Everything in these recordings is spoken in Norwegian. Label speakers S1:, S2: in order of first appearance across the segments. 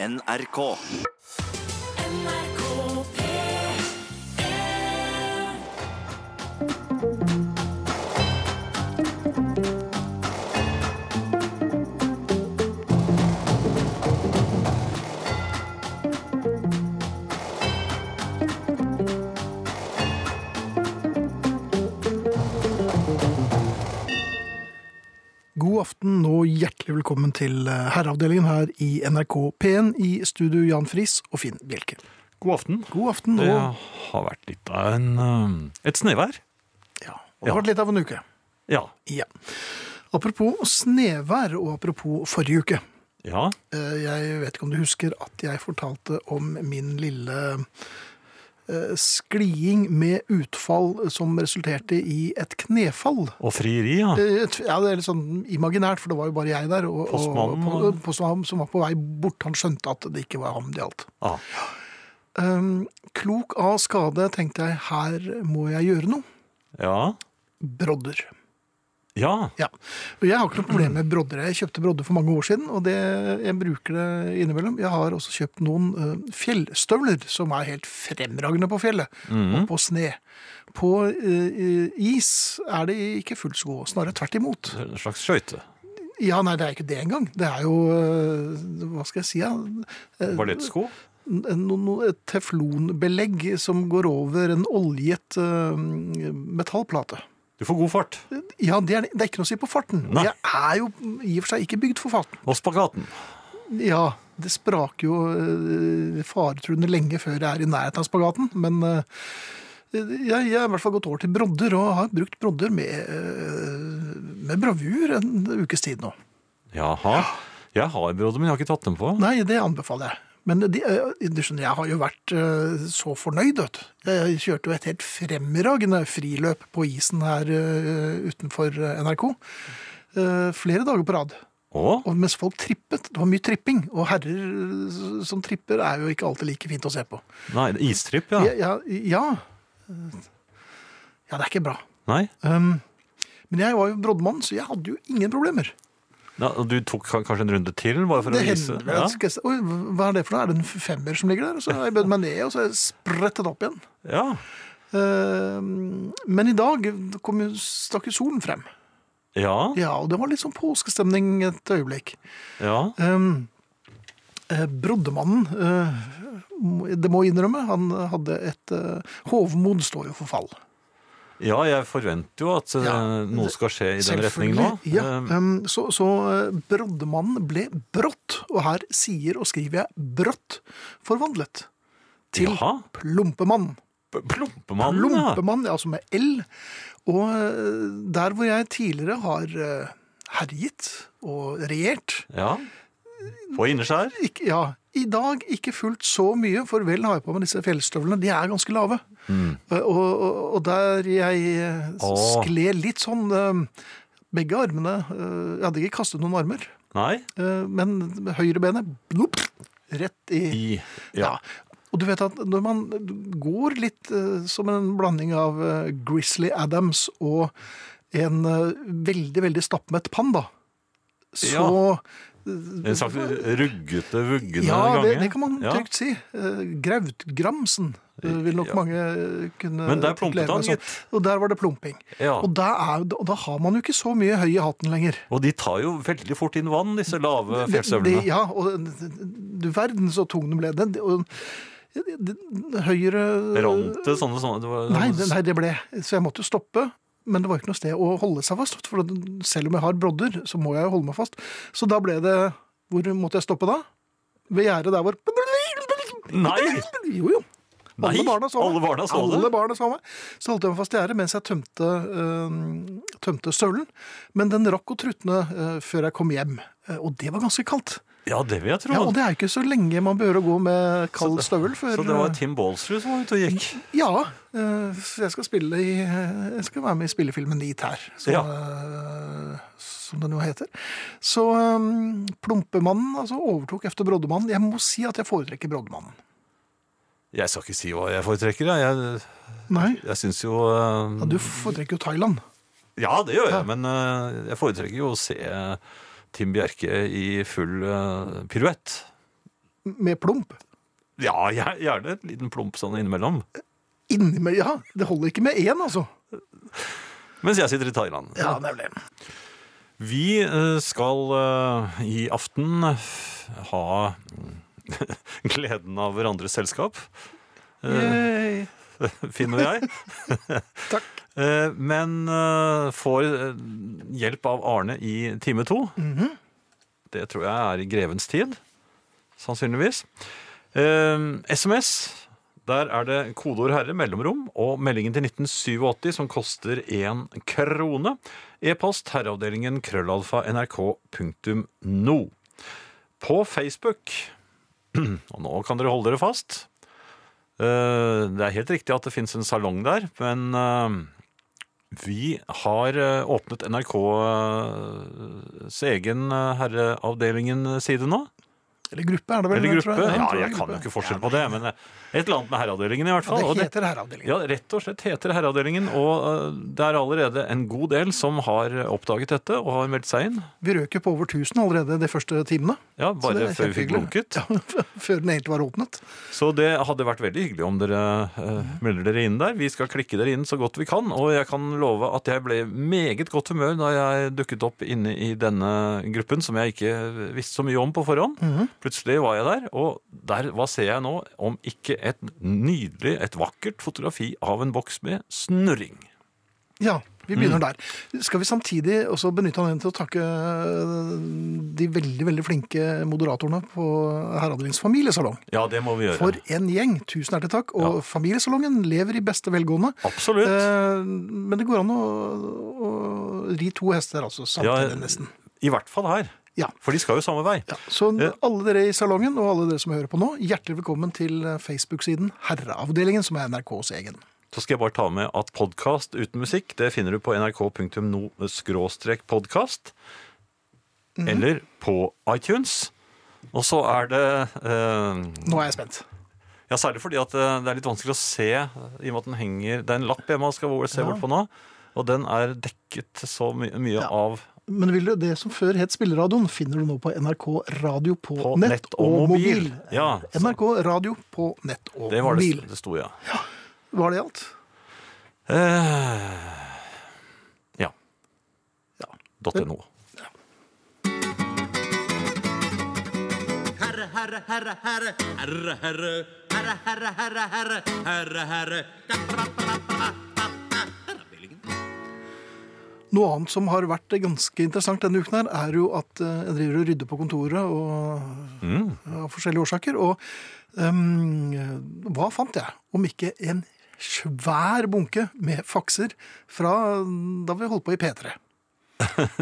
S1: NRK.
S2: Oh,
S3: God aften og hjertelig velkommen til eh, herreavdelingen her i NRK P1 i studio Jan Friis og Finn Bjelke.
S4: God aften.
S3: God aften
S4: Det
S3: og
S4: har vært litt av en, eh, et snevær.
S3: ja, og Det har vært litt av en uke.
S4: Ja.
S3: Ja. Apropos snevær og apropos forrige uke.
S4: Ja.
S3: Eh, Jeg vet ikke om du husker at jeg fortalte om min lille eh, skliing med utfall som resulterte i et knefall.
S4: Og frieri, ja.
S3: Eh, et- Ja, det er litt sånn imaginært, for det var jo bare jeg der. Og,
S4: Postmannen,
S3: og,
S4: og-
S3: po- postmannen som var på vei bort. Han skjønte at det ikke var ham det gjaldt.
S4: Ah,
S3: Um, klok av skade tenkte jeg her må jeg gjøre noe.
S4: ja.
S3: Brodder.
S4: Ja.
S3: Ja. Og jeg har ikke noe problem med brodder. Jeg kjøpte brodder for mange år siden, og det, jeg bruker det innimellom. Jeg har også kjøpt noen eh, fjellstøvler som er helt fremragende på fjellet, og på sne. På eh, is er de ikke fullt så gode, snarere tvert imot.
S4: En slags skøyte.
S3: Ja, nei, det er ikke det engang. Det er jo eh, Hva skal jeg si? Ja? Eh,
S4: Ballettsko.
S3: en- no, no, et teflonbelegg som går over en oljet eh, metallplate.
S4: Du får god fart.
S3: Ja, det er, det er ikke noe å si på farten.
S4: Nei.
S3: Jeg er jo i og for seg ikke bygd for farten.
S4: Og spagaten.
S3: Ja, det spraker jo eh, faretruende lenge før jeg er i nærheten av spagaten, men eh, jeg, jeg har i hvert fall gått over til brodder, og har brukt brodder med, eh, med bravur en ukes tid nå.
S4: Jaha. Jeg har brodder, men jeg har ikke tatt dem på.
S3: Nei, det anbefaler jeg. Men de, eh, du skjønner, jeg har jo vært eh, så fornøyd. Vet. du. Jeg kjørte jo et helt fremragende friløp på isen her eh, utenfor eh, NRK. eh, Flere dager på rad.
S4: Å?
S3: Og mens folk trippet, det var mye tripping, og herrer eh, som tripper er jo ikke alltid like fint å se på.
S4: Nei, istripp,
S3: Ja,
S4: ja.
S3: ja, ja. eh, ja det er ikke bra.
S4: Nei.
S3: Um, men jeg var jo broddmann, så jeg hadde jo ingen problemer.
S4: Ja, og du tok ka- kanskje en runde til, bare for
S3: Det
S4: å vise?
S3: hender vel at skal jeg se- Oi, hva er det for noe? Er det en femmer som ligger der? Og så har jeg bød meg ned, og så har jeg sprettet opp igjen.
S4: Ja. ja.
S3: Ehm, Men i dag kom jo, stakk jo solen frem.
S4: Ja.
S3: Ja, og det var litt sånn påskestemning et øyeblikk.
S4: Ja.
S3: Ehm, eh, Broddemannen, eh, må- det må jeg innrømme, han hadde et eh, Hovmod står jo for fall.
S4: Ja, jeg forventer jo at eh,
S3: Ja,
S4: noe skal skje i den retning nå.
S3: Selvfølgelig, Ja.
S4: Eh,
S3: Ehm, Så, så eh, Broddemannen ble brått, og her sier og skriver jeg brått, forvandlet til
S4: Jaha.
S3: Plumpemann.
S4: P- Plumpemann, ja.
S3: Lompemann, ja, altså med L. Og eh, der hvor jeg tidligere har eh, herjet og regjert
S4: Ja. På inneskjær.
S3: ikke, Ja, i dag ikke fullt så mye, for vel har jeg på meg disse fjellstøvlene. De er ganske lave. Eh, Og, og, og der jeg eh, s-
S4: Åh.
S3: skled litt sånn eh, Begge armene eh, Jeg hadde ikke kastet noen armer,
S4: Nei.
S3: eh, men høyrebenet blup, rett i
S4: I
S3: Ja.
S4: Ja.
S3: Og du vet at når man går litt eh, som en blanding av eh, Grizzly Adams og en eh, veldig, veldig stappmett panda, så
S4: En slags ruggete, vuggende
S3: Ja, det,
S4: gange.
S3: det kan man
S4: Ja.
S3: trygt si. Eh, Grautgramsen eh, vil nok
S4: Ja.
S3: mange eh, kunne
S4: Men der plumpet
S3: titulere
S4: han,
S3: det som.
S4: gitt.
S3: Og der var det plumping.
S4: Ja.
S3: Og, da er, og da har man jo ikke så mye høy i hatten lenger.
S4: Og de tar jo veldig fort inn vann, disse lave
S3: Det- det-
S4: fjellstøvlene.
S3: Ja, og du verden så tung den ble. Den, og, det- det- høyre
S4: Rant det sånne, sånne det var,
S3: Nei, det, nei, det ble Så jeg måtte jo stoppe. Men det var ikke noe sted å holde seg fast. For selv om jeg har brodder, så må jeg jo holde meg fast. Så da ble det Hvor måtte jeg stoppe da? Ved gjerdet der hvor
S4: Nei!
S3: Jo, jo.
S4: Nei, alle barna så det.
S3: Alle barna så meg. Så holdt jeg meg fast i gjerdet mens jeg tømte, øh, tømte støvlen. Men den rakk å trutne øh, før jeg kom hjem. Eh, Og det var ganske kaldt.
S4: Ja, det vil jeg tro.
S3: Ja, og det er jo ikke så lenge man behøver å gå med kald støvel før eh,
S4: Så det var Tim Baalsrud som var ute og gikk.
S3: ja, eh, så jeg skal, spille i, eh, jeg skal være med i spillefilmen Dit her, som,
S4: Ja.
S3: eh, som den jo heter. Så um, Plumpemannen altså, overtok efter Broddemannen. Jeg må si at jeg foretrekker Broddemannen.
S4: Jeg skal ikke si hva jeg foretrekker. jeg. Jeg,
S3: Nei,
S4: jeg syns jo eh,
S3: ja, du foretrekker jo Thailand.
S4: Ja, det gjør jeg, men eh, jeg foretrekker jo å se Tim Bjerke i full eh, piruett.
S3: med plump.
S4: Ja, gjer- gjerne en liten plump sånn innimellom.
S3: Inni med, ja, Det holder ikke med én, altså.
S4: Mens jeg sitter i Thailand.
S3: Ja, nemlig.
S4: Vi eh, skal eh, i aften ha gleden av hverandres selskap,
S3: Yay.
S4: Finn og jeg.
S3: Takk.
S4: Eh, Men eh, får eh, hjelp av Arne i time to. Det tror jeg er i grevens tid, sannsynligvis. Eh, SMS, der er det kodeord herre, mellomrom og meldingen til 1987 som koster én krone. E-post herreavdelingen krøllalfa nrk.no. På Facebook, og nå kan dere holde dere fast, Eh, Det er helt riktig at det finnes en salong der, men eh, vi har eh, åpnet NRKs egen eh, herreavdelingen-side nå.
S3: Eller gruppe, er det vel?
S4: Eller
S3: tror
S4: gruppe.
S3: jeg.
S4: Ja,
S3: tror det er
S4: jeg kan jo
S3: gruppe.
S4: ikke forskjell på det, men eh, et eller annet med herreavdelingen i hvert fall.
S3: Ja,
S4: og
S3: det
S4: det-
S3: heter herreavdelingen.
S4: ja, rett og slett heter herreavdelingen, og eh, det er allerede en god del som har oppdaget dette og har meldt seg inn.
S3: Vi røk jo på over 1000 allerede de første timene.
S4: Ja,
S3: det er
S4: bare før vi fikk
S3: kjempehyggelig.
S4: blunket.
S3: Før den egentlig var åpnet.
S4: Så det hadde vært veldig hyggelig om dere eh, melder dere inn der. Vi skal klikke dere inn så godt vi kan, og jeg kan love at jeg ble meget godt humør da jeg dukket opp inne i denne gruppen som jeg ikke visste så mye om på forhånd.
S3: Mhm.
S4: Plutselig var jeg der, og der, hva ser jeg nå om ikke et nydelig, et vakkert fotografi av en boks med snurring?
S3: Ja, vi
S4: Mm.
S3: begynner der. Skal vi samtidig også benytte anledningen til å takke eh, de veldig, veldig flinke moderatorene på Herreavdelingens familiesalong.
S4: Ja, det må vi gjøre.
S3: For en gjeng. Tusen hjertelig takk. Og familiesalongen lever i beste velgående.
S4: Absolutt.
S3: Eh, Men det går an å, å ri to hester, altså. Samtidig,
S4: Ja,
S3: nesten.
S4: I hvert fall her,
S3: Ja.
S4: for de skal jo samme vei.
S3: Ja, så alle dere i salongen og alle dere som hører på nå, hjertelig velkommen til eh, Facebook-siden Herreavdelingen, som er NRKs egen.
S4: Så skal jeg bare ta med at podkast uten musikk det finner du på nrk.no-podkast.
S3: Mhm.
S4: Eller på iTunes. Og så er det eh,
S3: Nå er jeg spent.
S4: Ja, særlig fordi at eh, det er litt vanskelig å se, eh, i og med at den henger Det er en lapp hjemme man skal se bort på nå, og den er dekket så my mye av
S3: Men vil du, det som før het Spilleradioen, finner du nå på NRK Radio på,
S4: På
S3: nett, og, mobil.
S4: Ja, så-
S3: NRK Radio på nett og
S4: Det var
S3: mobil.
S4: det det sto, ja.
S3: Var det alt?
S4: Eh, ja.
S3: Ja.
S4: .no.
S1: herre, herre, herre, herre, herre, herre, herre, herre, herre, herre, herre, herre.
S3: Noe annet som har vært ganske interessant denne uken, her, er jo at eh, jeg driver og rydder på kontoret og,
S4: Mm.
S3: av forskjellige årsaker. Og ehm, hva fant jeg, om ikke en svær bunke med fakser fra da vi holdt på i P3?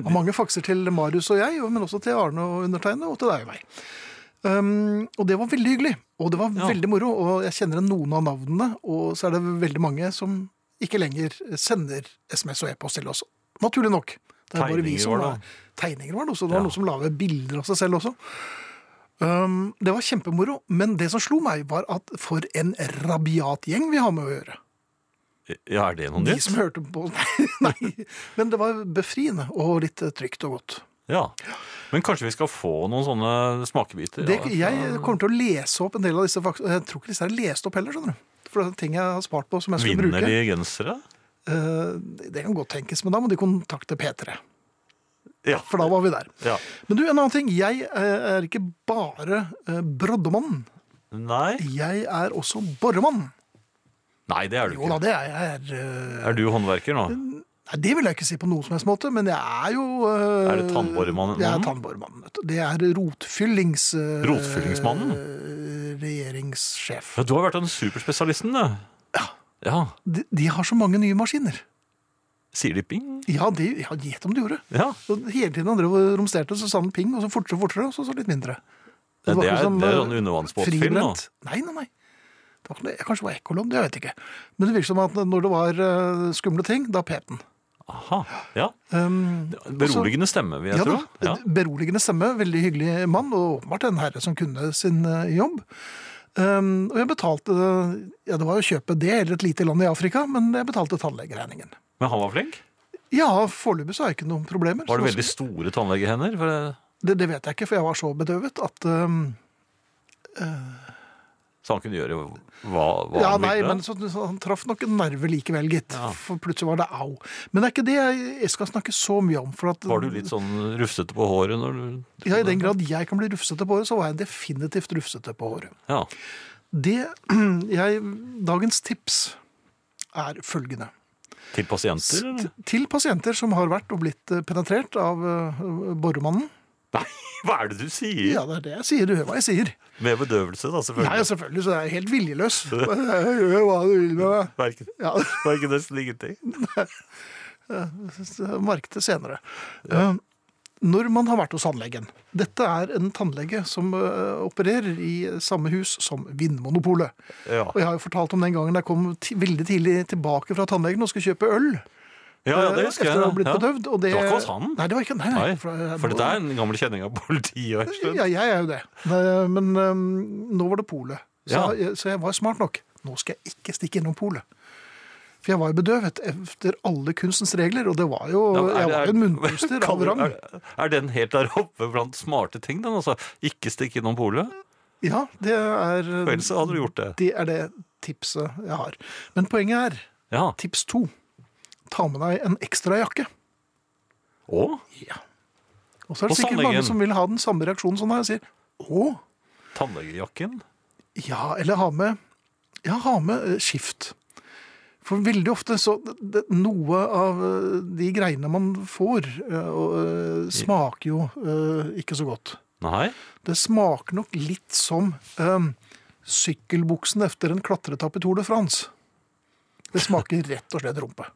S3: Og mange fakser til Marius og jeg, og- men også til Arne og undertegnede, og til deg og meg. Um, og det var veldig hyggelig, og det var
S4: Ja.
S3: veldig moro. Og jeg kjenner igjen noen av navnene, og så er det veldig mange som ikke lenger sender SMS og e-post til oss. Naturlig nok. Det er bare vi
S4: Tegninger
S3: som
S4: var det.
S3: var Tegninger var det også. Det var
S4: Ja.
S3: noen som la ved bilder av seg selv også. Um, det var kjempemoro, men det som slo meg, var at for en rabiat gjeng vi har med å gjøre.
S4: Ja, er det noen
S3: De
S4: nytt?
S3: som hørte på Nei, nei. Men det var befriende og litt eh, trygt og godt.
S4: Ja. Men kanskje vi skal få noen sånne smakebiter?
S3: Det,
S4: av dette?
S3: jeg kommer til å lese opp en del av disse faktene. Jeg tror ikke disse er lest opp heller, skjønner du. For det er ting jeg har spart på som jeg skulle
S4: Vinner
S3: bruke.
S4: de gensere?
S3: Eh, det kan godt tenkes, men da må de kontakte P3.
S4: Ja.
S3: For da var vi der.
S4: ja.
S3: Men du, en annen ting. Jeg eh, er ikke bare eh, broddemann.
S4: Nei.
S3: Jeg er også boremann.
S4: Nei, det er du
S3: Jo da,
S4: ikke.
S3: det er jeg. Er, eh,
S4: Er du håndverker nå?
S3: Nei, det vil jeg ikke si på noen som helst måte, men jeg er jo eh,
S4: Er det tannboremannen?
S3: Jeg er tannboremannen. vet du. Det er rotfyllings... eh,
S4: Rotfyllingsmannen?
S3: Regjeringssjef.
S4: Ja, du har vært den superspesialisten, du. Ja. ja.
S3: De, de har så mange nye maskiner.
S4: Sier de ping?
S3: Ja, det, ja, gjett om de gjorde.
S4: Ja.
S3: Så hele tiden han drev og romsterte, så sa han ping, og så fortere og fortere, og så, så litt mindre.
S4: Det,
S3: var
S4: det
S3: ikke
S4: er,
S3: som,
S4: det er
S3: eh,
S4: sånn undervannsbåtfilm nå.
S3: fribrent. Nei, nei, nei. Det var ikke noe, kanskje det var ekkolom, det jeg vet ikke. Men det virker som at når det var eh, skumle ting, da pep den.
S4: Aha. Ja.
S3: Um,
S4: Beroligende stemme, vil jeg
S3: ja da,
S4: tro. Ja.
S3: beroligende stemme, veldig hyggelig mann, og åpenbart en herre som kunne sin eh, jobb. Um, og jeg betalte, ja det var jo å kjøpe det, eller et lite land i Afrika, men jeg betalte tannlegeregningen.
S4: Men han var flink?
S3: Ja, foreløpig så har jeg ikke noen problemer.
S4: Var det
S3: Så-
S4: veldig store tannlegehender? For det-
S3: um, Det, det vet jeg ikke, for jeg var så bedøvet at øhm,
S4: Så han kunne gjøre hva, hva
S3: Ja,
S4: han
S3: nei,
S4: ville?
S3: men så, så han traff nok en nerve likevel, gitt. For plutselig var det au. Men det er ikke det jeg, jeg skal snakke så mye om. For at,
S4: Var du litt sånn rufsete på håret når du
S3: Ja, I den grad jeg kan bli rufsete på håret, så var jeg definitivt rufsete på håret.
S4: Ja.
S3: Det jeg Dagens tips er følgende.
S4: Til pasienter, eller?
S3: Til pasienter som har vært og blitt eh, penetrert av eh, boremannen.
S4: Nei, hva er det du sier?
S3: Ja, det er det jeg sier. Du hører hva jeg sier.
S4: Med bedøvelse,
S3: Nei,
S4: da,
S3: altså-
S4: selvfølgelig.
S3: selvfølgelig, så jeg er helt viljeløs. Jeg gjør hva du vil med meg.
S4: Verken,
S3: Ja,
S4: verken nesten ingenting.
S3: så merk det senere. Eh, Når man har vært hos tannlegen Dette er en tannlege som eh, opererer i samme hus som Vinmonopolet.
S4: Ja.
S3: Og jeg har jo fortalt om den gangen jeg kom ti- veldig tidlig tilbake fra tannlegen og skulle kjøpe øl. Eh,
S4: Ja, ja, det husker
S3: Etter å
S4: jeg.
S3: ha blitt
S4: ja.
S3: bedøvd. Og det,
S4: Det var ikke hos han?
S3: Nei, det var ikke, nei, nei,
S4: Nei,
S3: for-
S4: for dette er en gammel kjenning av politiet. en stund.
S3: Ja, jeg er jo det. Nei, Men øhm, nå var det polet. Så,
S4: Ja.
S3: jeg, så jeg var smart nok. Nå skal jeg ikke stikke innom polet. For jeg var jo bedøvet etter alle kunstens regler, og det var jo,
S4: Ja, men er-
S3: jeg var jo en munnpuster
S4: Kan
S3: av
S4: du-
S3: rang.
S4: Er, er den helt der oppe blant smarte ting, den? Altså, ikke stikk innom polet?
S3: Ja, det er,
S4: For Ellers hadde du gjort det.
S3: det er det tipset jeg har. Men poenget er,
S4: Ja.
S3: tips to, ta med deg en ekstra jakke. Og
S4: Og
S3: så er det
S4: Hos
S3: sikkert
S4: tannlegen.
S3: mange som vil ha den samme reaksjonen som deg og sier, å,
S4: tannlegejakken.
S3: Ja, eller ha med, ja, ha med eh, skift. For veldig ofte så det- det, Noe av eh, de greiene man får, eh, og, eh, smaker jo eh, ikke så godt.
S4: Nei.
S3: Det smaker nok litt som eh, sykkelbuksen etter en klatretapp i Tour de France. Det smaker rett og slett rumpe.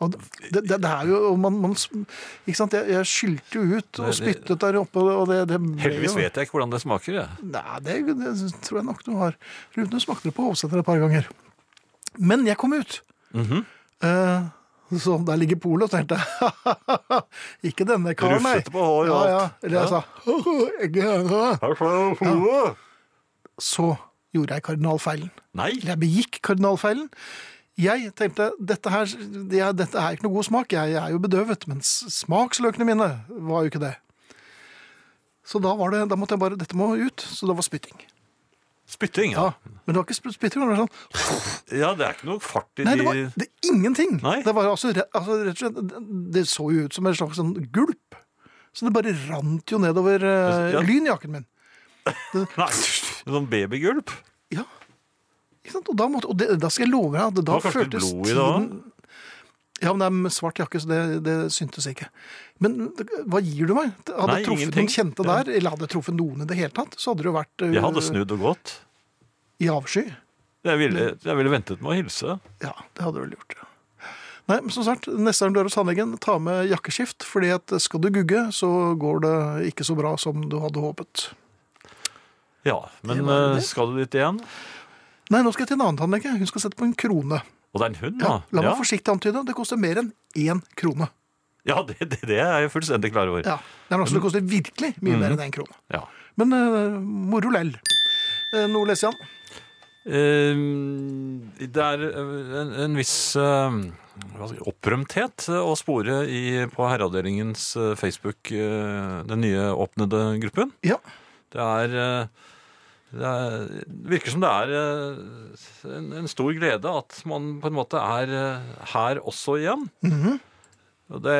S3: Og det, det, det er jo og man, man, Ikke sant, jeg, jeg skylte jo ut og
S4: Det- det-
S3: spyttet der oppe, og det, det ble
S4: Heldigvis
S3: jo-
S4: vet jeg ikke hvordan det smaker. Jeg.
S3: Nei, det, det tror jeg nok du har. Rune du smakte det på Hovseter et par ganger. Men jeg kom ut.
S4: Mhm.
S3: Eh, så der ligger polet, og tenkte jeg ikke denne karen, nei.
S4: Rufsete på hår og
S3: ja, ja.
S4: alt.
S3: Eller jeg
S4: Ja.
S3: sa ikke denne.
S4: Ja.
S3: Så gjorde jeg kardinalfeilen.
S4: Nei.
S3: Eller jeg begikk kardinalfeilen. Jeg tenkte dette her det er, dette er ikke noe god smak, jeg, jeg er jo bedøvet. Men s- smaksløkene mine var jo ikke det. Så da var det, da måtte jeg bare Dette må ut. Så det var spytting.
S4: Spytting, ja.
S3: Ja, men det var ikke sp- spytting. Det var sånn
S4: ja. Det er ikke noe fart i
S3: Nei, det var
S4: de
S3: det, ingenting.
S4: Nei.
S3: Det var altså, re- altså rett og slett Det så jo ut som en slags sånn gulp. Så det bare rant jo nedover eh,
S4: Altså, Ja.
S3: lynjakken min.
S4: Nei, Sånn babygulp.
S3: Ja. Ikke sant? Og, da, måtte, og det, da skal jeg love deg at
S4: Det
S3: da
S4: var kanskje litt
S3: føltes
S4: blod i det òg?
S3: Ja, men det er med svart jakke, så det, det syntes ikke. Men det- hva gir du meg? Hadde
S4: Nei,
S3: jeg truffet
S4: ingenting.
S3: noen kjente der, eller hadde jeg truffet noen i det hele tatt, så hadde det jo vært eh,
S4: Jeg hadde snudd og gått.
S3: i avsky.
S4: Jeg ville, jeg ville ventet med å hilse.
S3: Ja, det hadde du vel gjort. ja. Nei, men som sagt, neste gang du er hos tannlegen, ta med jakkeskift, fordi at skal du gugge, så går det ikke så bra som du hadde håpet.
S4: Ja, Men
S3: Det var det.
S4: eh, skal du dit igjen?
S3: Nei, nå skal jeg til en annen tannlege. Hun skal sette på en krone.
S4: Og det er en hund,
S3: Ja,
S4: da?
S3: la meg
S4: Ah, Ja,
S3: forsiktig antyde, det koster mer enn én krone.
S4: ja det, det, det er jeg fullstendig klar over.
S3: Ja, det, er altså, det koster virkelig mye mer enn én krone.
S4: Ja.
S3: Men eh, moro lell. Eh, nå leser jeg den.
S4: Ehm, Eh, Det er eh, en, en viss eh, hva skal jeg- opprømthet eh, å spore i, på Herreavdelingens eh, Facebook, eh, den nye åpnede gruppen.
S3: Ja,
S4: Det er, eh, det er det virker som det er eh, en, en stor glede at man på en måte er eh, her også igjen.
S3: Mhm.
S4: Og det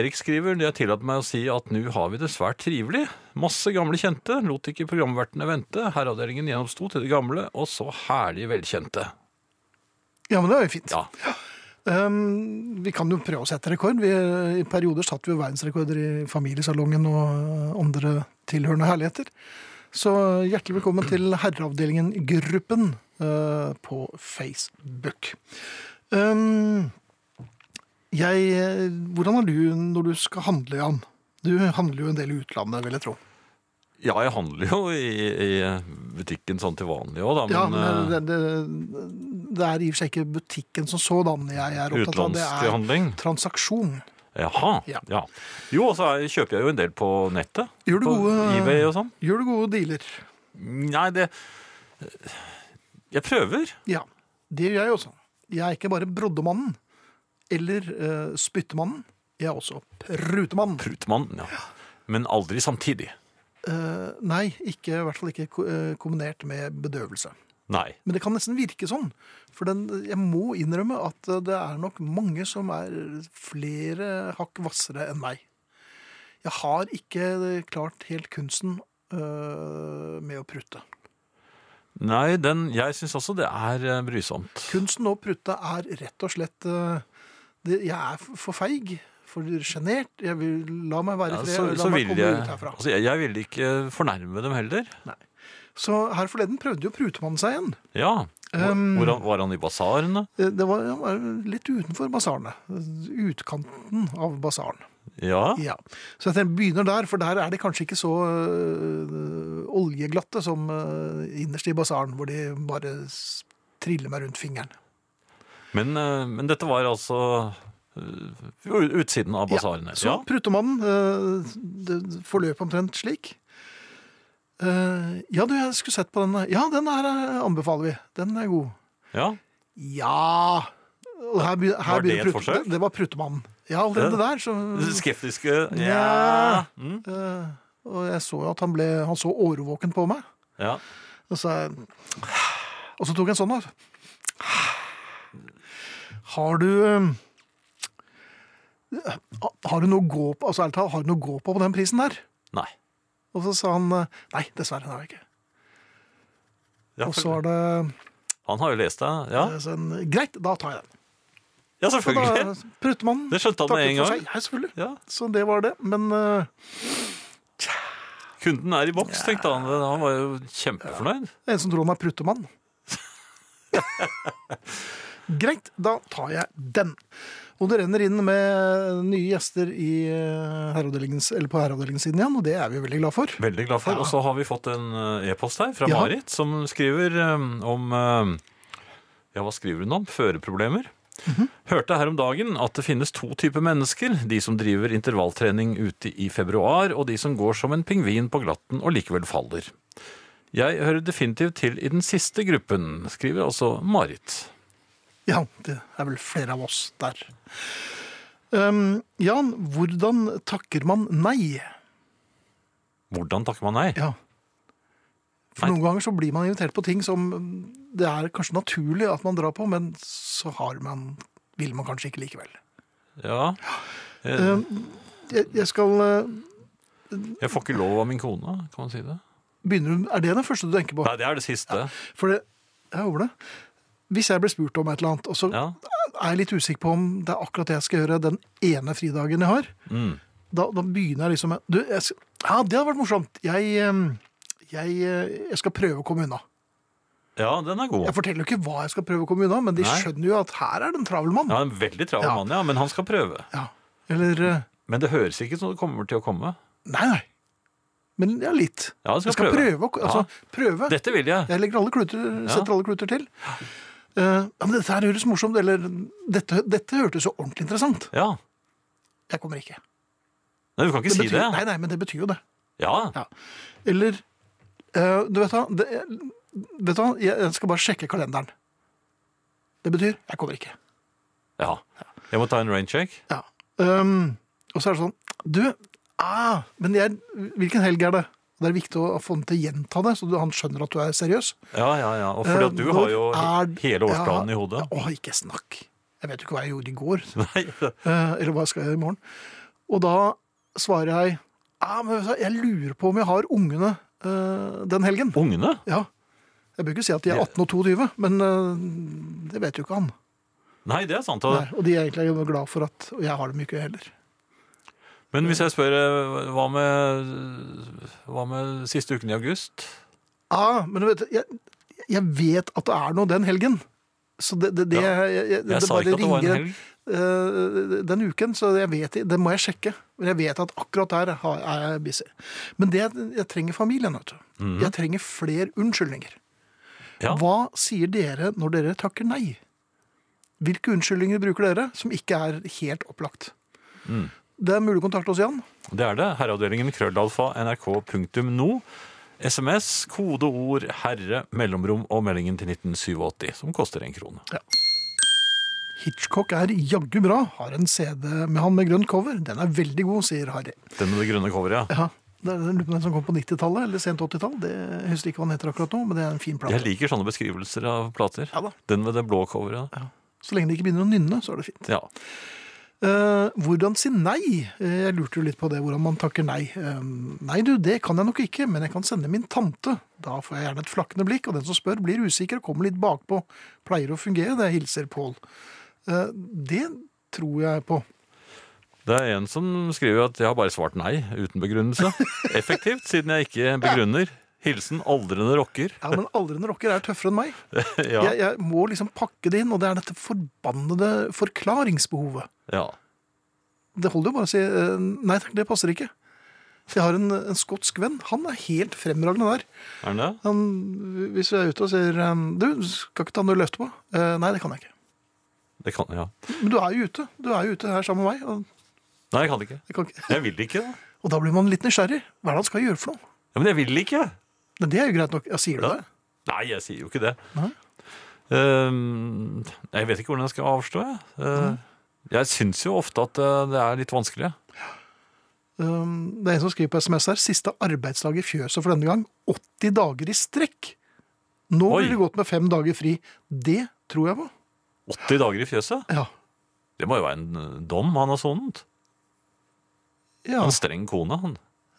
S4: Erik skriver, det har tillatt meg å si at nå har vi det svært trivelig. Masse gamle kjente, lot ikke programvertene vente. Herreavdelingen gjennomsto til det gamle, og så herlig velkjente.
S3: ja men det er jo fint.
S4: Ja,
S3: Ehm, vi kan jo prøve å sette rekord. Vi, I perioder satt vi jo verdensrekorder i familiesalongen og eh, andre tilhørende herligheter. Så hjertelig velkommen til Herreavdelingen Gruppen eh, på Facebook. Ehm, jeg, eh, hvordan er du når du skal handle, Jan? Du handler jo en del i utlandet, vil jeg tro.
S4: ja jeg handler jo i, i butikken sånn til vanlig òg, da. Men,
S3: Ja,
S4: eh,
S3: men det, det, det er i og for seg ikke butikken som sådan jeg er opptatt av. Det
S4: utenlandsk
S3: er
S4: handling.
S3: transaksjon.
S4: Jaha.
S3: Ja.
S4: Ja. Jo, og så er- kjøper jeg jo en del på nettet.
S3: Gjør du
S4: på
S3: gode-
S4: eBay og sånn.
S3: Gjør du gode dealer?
S4: Nei, det Jeg prøver.
S3: Ja, det gjør jeg også. Jeg er ikke bare broddemannen eller eh, spyttemannen. Jeg er også prutemannen.
S4: Prutmann. Ja. Men aldri samtidig.
S3: Eh, nei, ikke, i hvert fall ikke ko- eh, kombinert med bedøvelse.
S4: Nei.
S3: Men det kan nesten virke sånn. For den, jeg må innrømme at eh, det er nok mange som er flere hakk hvassere enn meg. Jeg har ikke klart helt kunsten eh, med å prutte.
S4: Nei, den, jeg syns også det er eh, brysomt.
S3: Kunsten å prutte er rett og slett eh, det, Jeg er f- for feig, for sjenert. Jeg vil la meg være i
S4: Ja,
S3: fred.
S4: så,
S3: la
S4: så
S3: meg
S4: vil
S3: komme
S4: jeg,
S3: ut herfra.
S4: altså, jeg, jeg ville ikke fornærme dem heller.
S3: Så her forleden prøvde jo prutemannen seg igjen.
S4: Ja. Hvor,
S3: Um,
S4: hvor han- var han i basarene?
S3: Eh, Det var, han var litt utenfor basarene. Utkanten av basaren.
S4: Ja.
S3: Ja. Så jeg tenker, begynner der, for der er de kanskje ikke så øh, oljeglatte som øh, innerst i basaren, hvor de bare s- triller meg rundt fingeren.
S4: Men, eh, men dette var altså eh, u- utsiden av basarene.
S3: Så
S4: Ja.
S3: pruttemannen øh, det det forløp omtrent slik. Eh, ja, du, jeg skulle sett på den. Ja, den her eh, anbefaler vi. Den er god.
S4: ja.
S3: Ja! Og her, begy- her
S4: Var det
S3: begynner
S4: et
S3: prutte-
S4: forsøk?
S3: Det, det var pruttemannen. Ja, allerede
S4: Ja.
S3: der. Så,
S4: Skeptiske
S3: Nja.
S4: Ja. Mm.
S3: Eh, og jeg så jo at han ble Han så årvåken på meg.
S4: ja.
S3: Og så, og så tok jeg en sånn, da. Har du eh, Har du noe å gå på Altså ærlig talt, har du noe å gå på på den prisen der?
S4: Nei.
S3: Og så sa han eh, nei, dessverre, det har jeg ikke.
S4: Ja,
S3: Og så
S4: for-
S3: var det
S4: han har jo lest det. Ja,
S3: eh, sånn, greit, da tar jeg den. Så
S4: ja
S3: da
S4: selvfølgelig.
S3: prutter man.
S4: Det skjønte han med en gang.
S3: Ja, selvfølgelig.
S4: Ja.
S3: Så det var det. Men eh,
S4: Kunden er i boks, tenkte han. Han var jo kjempefornøyd.
S3: det er en som tror han er pruttemann. Greit, da tar jeg den. Og det renner inn med nye gjester i eh, herreavdelingens, eller på herreavdelingens siden igjen, og det er vi jo veldig glad for.
S4: Veldig glad for.
S3: Ja.
S4: Og så har vi fått en eh, e-post her fra
S3: Ja.
S4: Marit, som skriver eh, om eh, Ja, hva skriver hun om? Førerproblemer. Mhm. Hørte her om dagen at det finnes to typer mennesker. De som driver intervalltrening ute i februar, og de som går som en pingvin på glatten og likevel faller. Jeg hører definitivt til i den siste gruppen, skriver altså Marit.
S3: Ja, det er vel flere av oss der. Um, Jan, hvordan takker man nei?
S4: Hvordan takker man nei?
S3: Ja. For
S4: Nei.
S3: noen ganger så blir man invitert på ting som mm, det er kanskje naturlig at man drar på, men så har man, vil man kanskje ikke likevel.
S4: Ja, Eh,
S3: Um, jeg, jeg skal eh,
S4: jeg får ikke lov av min kone, kan man si det?
S3: begynne Er det den første du tenker på?
S4: Nei, det er det siste.
S3: For det, jeg håper det. Hvis jeg blir spurt om et eller annet, og så
S4: Ja.
S3: er jeg litt usikker på om det er akkurat det jeg skal gjøre den ene fridagen jeg har,
S4: Mm.
S3: da, da begynner jeg liksom med du, jeg, skal- Ja, det hadde vært morsomt. Jeg, eh, jeg, eh, jeg skal prøve å komme unna.
S4: Ja, den er god.
S3: Jeg forteller jo ikke hva jeg skal prøve å komme unna, men de
S4: Nei.
S3: skjønner jo at her er det en travel mann.
S4: Ja, en veldig travel
S3: Ja.
S4: mann, ja, men han skal prøve.
S3: Ja. Eller eh,
S4: Men det høres ikke ut som det kommer til å komme.
S3: Nei, nei. Men ja, litt.
S4: Ja, han skal
S3: jeg skal
S4: prøve.
S3: prøve. å ko- altså, prøve.
S4: Dette vil jeg.
S3: Jeg legger alle kluter, setter alle kluter til. Eh, ja, men dette her høres morsomt, eller dette, dette hørtes jo ordentlig interessant.
S4: Ja.
S3: Jeg kommer ikke.
S4: Nei, du kan ikke
S3: Det
S4: si
S3: betyr,
S4: det.
S3: Nei, nei, men det betyr jo det.
S4: Ja.
S3: Ja. Eller eh, Du vet hva, det, vet du hva, jeg skal bare sjekke kalenderen. Det betyr jeg kommer ikke.
S4: ja. Jeg må ta en raincheck.
S3: Ja. Ehm, og så er det sånn Du, ah, men jeg, hvilken helg er det? Det er viktig å få den til å gjenta det, så du, han skjønner at du er seriøs.
S4: Ja, ja, ja. Og fordi at du
S3: Eh,
S4: har jo
S3: når er-
S4: hele årsplanen
S3: Ja,
S4: i hodet.
S3: Å, ikke snakk. Jeg vet jo ikke hva jeg gjorde i går.
S4: Nei.
S3: Eh, eller hva skal jeg gjøre i morgen? Og da svarer jeg ah, men vet du hva, jeg lurer på om jeg har ungene eh, den helgen.
S4: Ungene?
S3: Ja. Jeg bør ikke si at de er 18 og 22, men eh, det vet jo ikke han.
S4: Nei, det er sant.
S3: Nei, og de er egentlig glad for at Og jeg har dem ikke heller.
S4: Men hvis jeg spør eh, hva med, hva med siste uken i august?
S3: Ah, men vet du, jeg, jeg vet at det er noe den helgen. Så det, det, det,
S4: Ja.
S3: jeg, jeg, det
S4: Jeg sa
S3: bare
S4: ikke at det var en
S3: ringer
S4: helg.
S3: eh, den uken, så jeg vet, det må jeg sjekke. Men jeg vet at akkurat der har- er jeg busy. Men det, jeg trenger familien. Vet du. Jeg trenger flere unnskyldninger.
S4: Mhm. Ja.
S3: Hva sier dere når dere takker nei? Hvilke unnskyldninger bruker dere som ikke er helt opplagt?
S4: Mm.
S3: Det er mulig å kontakte oss, Jan.
S4: Det er det. Herreavdelingen krøllalfa nrk.no. SMS, kodeord, herre, mellomrom og meldingen til 1987, som koster en krone.
S3: Hitchcock er jaggu bra. Har en CD med han med grønt cover. Den er veldig god, sier Harry.
S4: Den med det grønne coveret, ja.
S3: Ja. Det er den den som kom på 90-tallet, eller sent 80-tall. Det jeg husker ikke hva den heter akkurat nå, men det er en fin plate.
S4: Jeg liker sånne beskrivelser av plater.
S3: Ja da.
S4: Den med det blå coveret.
S3: Så lenge de ikke begynner å nynne, så er det fint.
S4: Ja.
S3: Eh, hvordan si nei? Eh, jeg lurte jo litt på det, hvordan man takker nei. Eh, nei du, det kan jeg nok ikke, men jeg kan sende min tante. Da får jeg gjerne et flakkende blikk, og den som spør blir usikker og kommer litt bakpå. Pleier å fungere, det hilser Pål. Eh, det tror jeg på.
S4: Det er en som skriver at jeg har bare svart nei uten begrunnelse. Effektivt, siden jeg ikke begrunner. Hilsen aldrende rocker.
S3: Ja, Men aldrende rocker er tøffere enn meg.
S4: Ja,
S3: Jeg, jeg må liksom pakke det inn, og det er dette forbannede forklaringsbehovet.
S4: ja.
S3: Det holder jo bare å si eh, nei takk, det passer ikke. Jeg har en, en skotsk venn. Han er helt fremragende der.
S4: Er den det?
S3: Han, hvis vi er ute og sier um, Du, skal ikke ta noe løfte på? Eh, nei, det kan jeg ikke.
S4: Det kan, ja.
S3: Men du er jo ute. Du er jo ute her sammen med meg. Og,
S4: Nei, jeg kan ikke.
S3: jeg kan ikke.
S4: Jeg vil ikke. da.
S3: og da blir man litt nysgjerrig. Hva er det han skal gjøre for noe?
S4: Ja, men jeg vil ikke!
S3: Men det er jo greit nok. Ja, sier du
S4: Ja.
S3: det?
S4: Nei, jeg sier jo ikke det.
S3: Nei.
S4: Ehm, jeg vet ikke hvordan jeg skal avslå. Jeg, Eh, jeg syns jo ofte at eh, det er litt vanskelig.
S3: Um, det er en som skriver på SMS her. Siste arbeidsdag i fjøset for denne gang. 80 dager i strekk! Nå
S4: Oi.
S3: blir det godt med fem dager fri. Det tror jeg på.
S4: 80 dager i fjøset?
S3: Ja.
S4: Det må jo være en eh, dom han har sonet.
S3: ja
S4: En streng kone, han.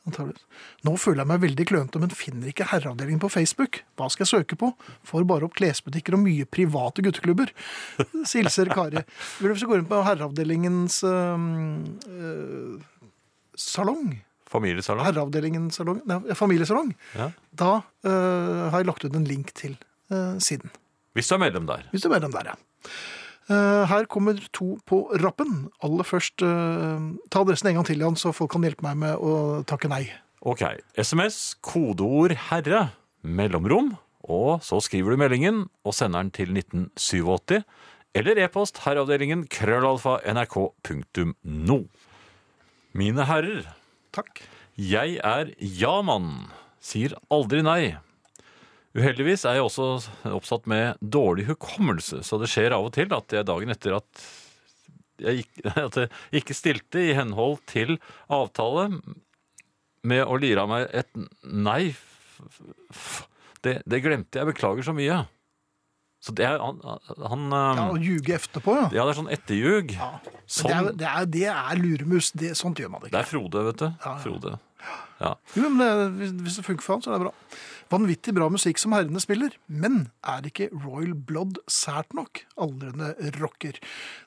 S3: antageligvis. Nå føler jeg meg veldig klønete, men finner ikke herreavdelingen på Facebook. Hva skal jeg søke på? Får bare opp klesbutikker og mye private gutteklubber. Silser Kari. Vil du så gå inn på herreavdelingens øhm, øh, salong?
S4: Familiesalong.
S3: Herreavdelingens salong? Nei, ja, familiesalong.
S4: Ja.
S3: Da øh, har jeg lagt ut en link til øh, siden.
S4: Hvis du er medlem der.
S3: Hvis du er dem der, ja. Eh, her kommer to på rappen. Aller først eh, Ta adressen en gang til, Jan, så folk kan hjelpe meg med å takke nei.
S4: Ok. SMS, kodeord 'herre', mellomrom, og så skriver du meldingen og sender den til 1987. Eller e-post herreavdelingen krøllalfa nrk.no. Mine herrer,
S3: Takk.
S4: jeg er ja-mannen. Sier aldri nei. Uheldigvis er jeg også oppsatt med dårlig hukommelse, så det skjer av og til at jeg dagen etter at jeg ikke, at jeg ikke stilte i henhold til avtale med å lire av meg et nei f- f- det, det glemte jeg. Beklager så mye. Så det er han, han
S3: Ja,
S4: ja,
S3: Å ljuge etterpå, ja.
S4: Mm. det er sånn etterljug.
S3: ja.
S4: Sånn.
S3: Men Det, er, det, er, det er luremus. Det, sånt gjør man
S4: Det
S3: ikke.
S4: er Frode, vet du.
S3: ja.
S4: Frode.
S3: Jo, men det, hvis, hvis det funker for han, så er det bra. Vanvittig bra musikk som herrene spiller, men er ikke Royal Blood sært nok? Aldrende rocker.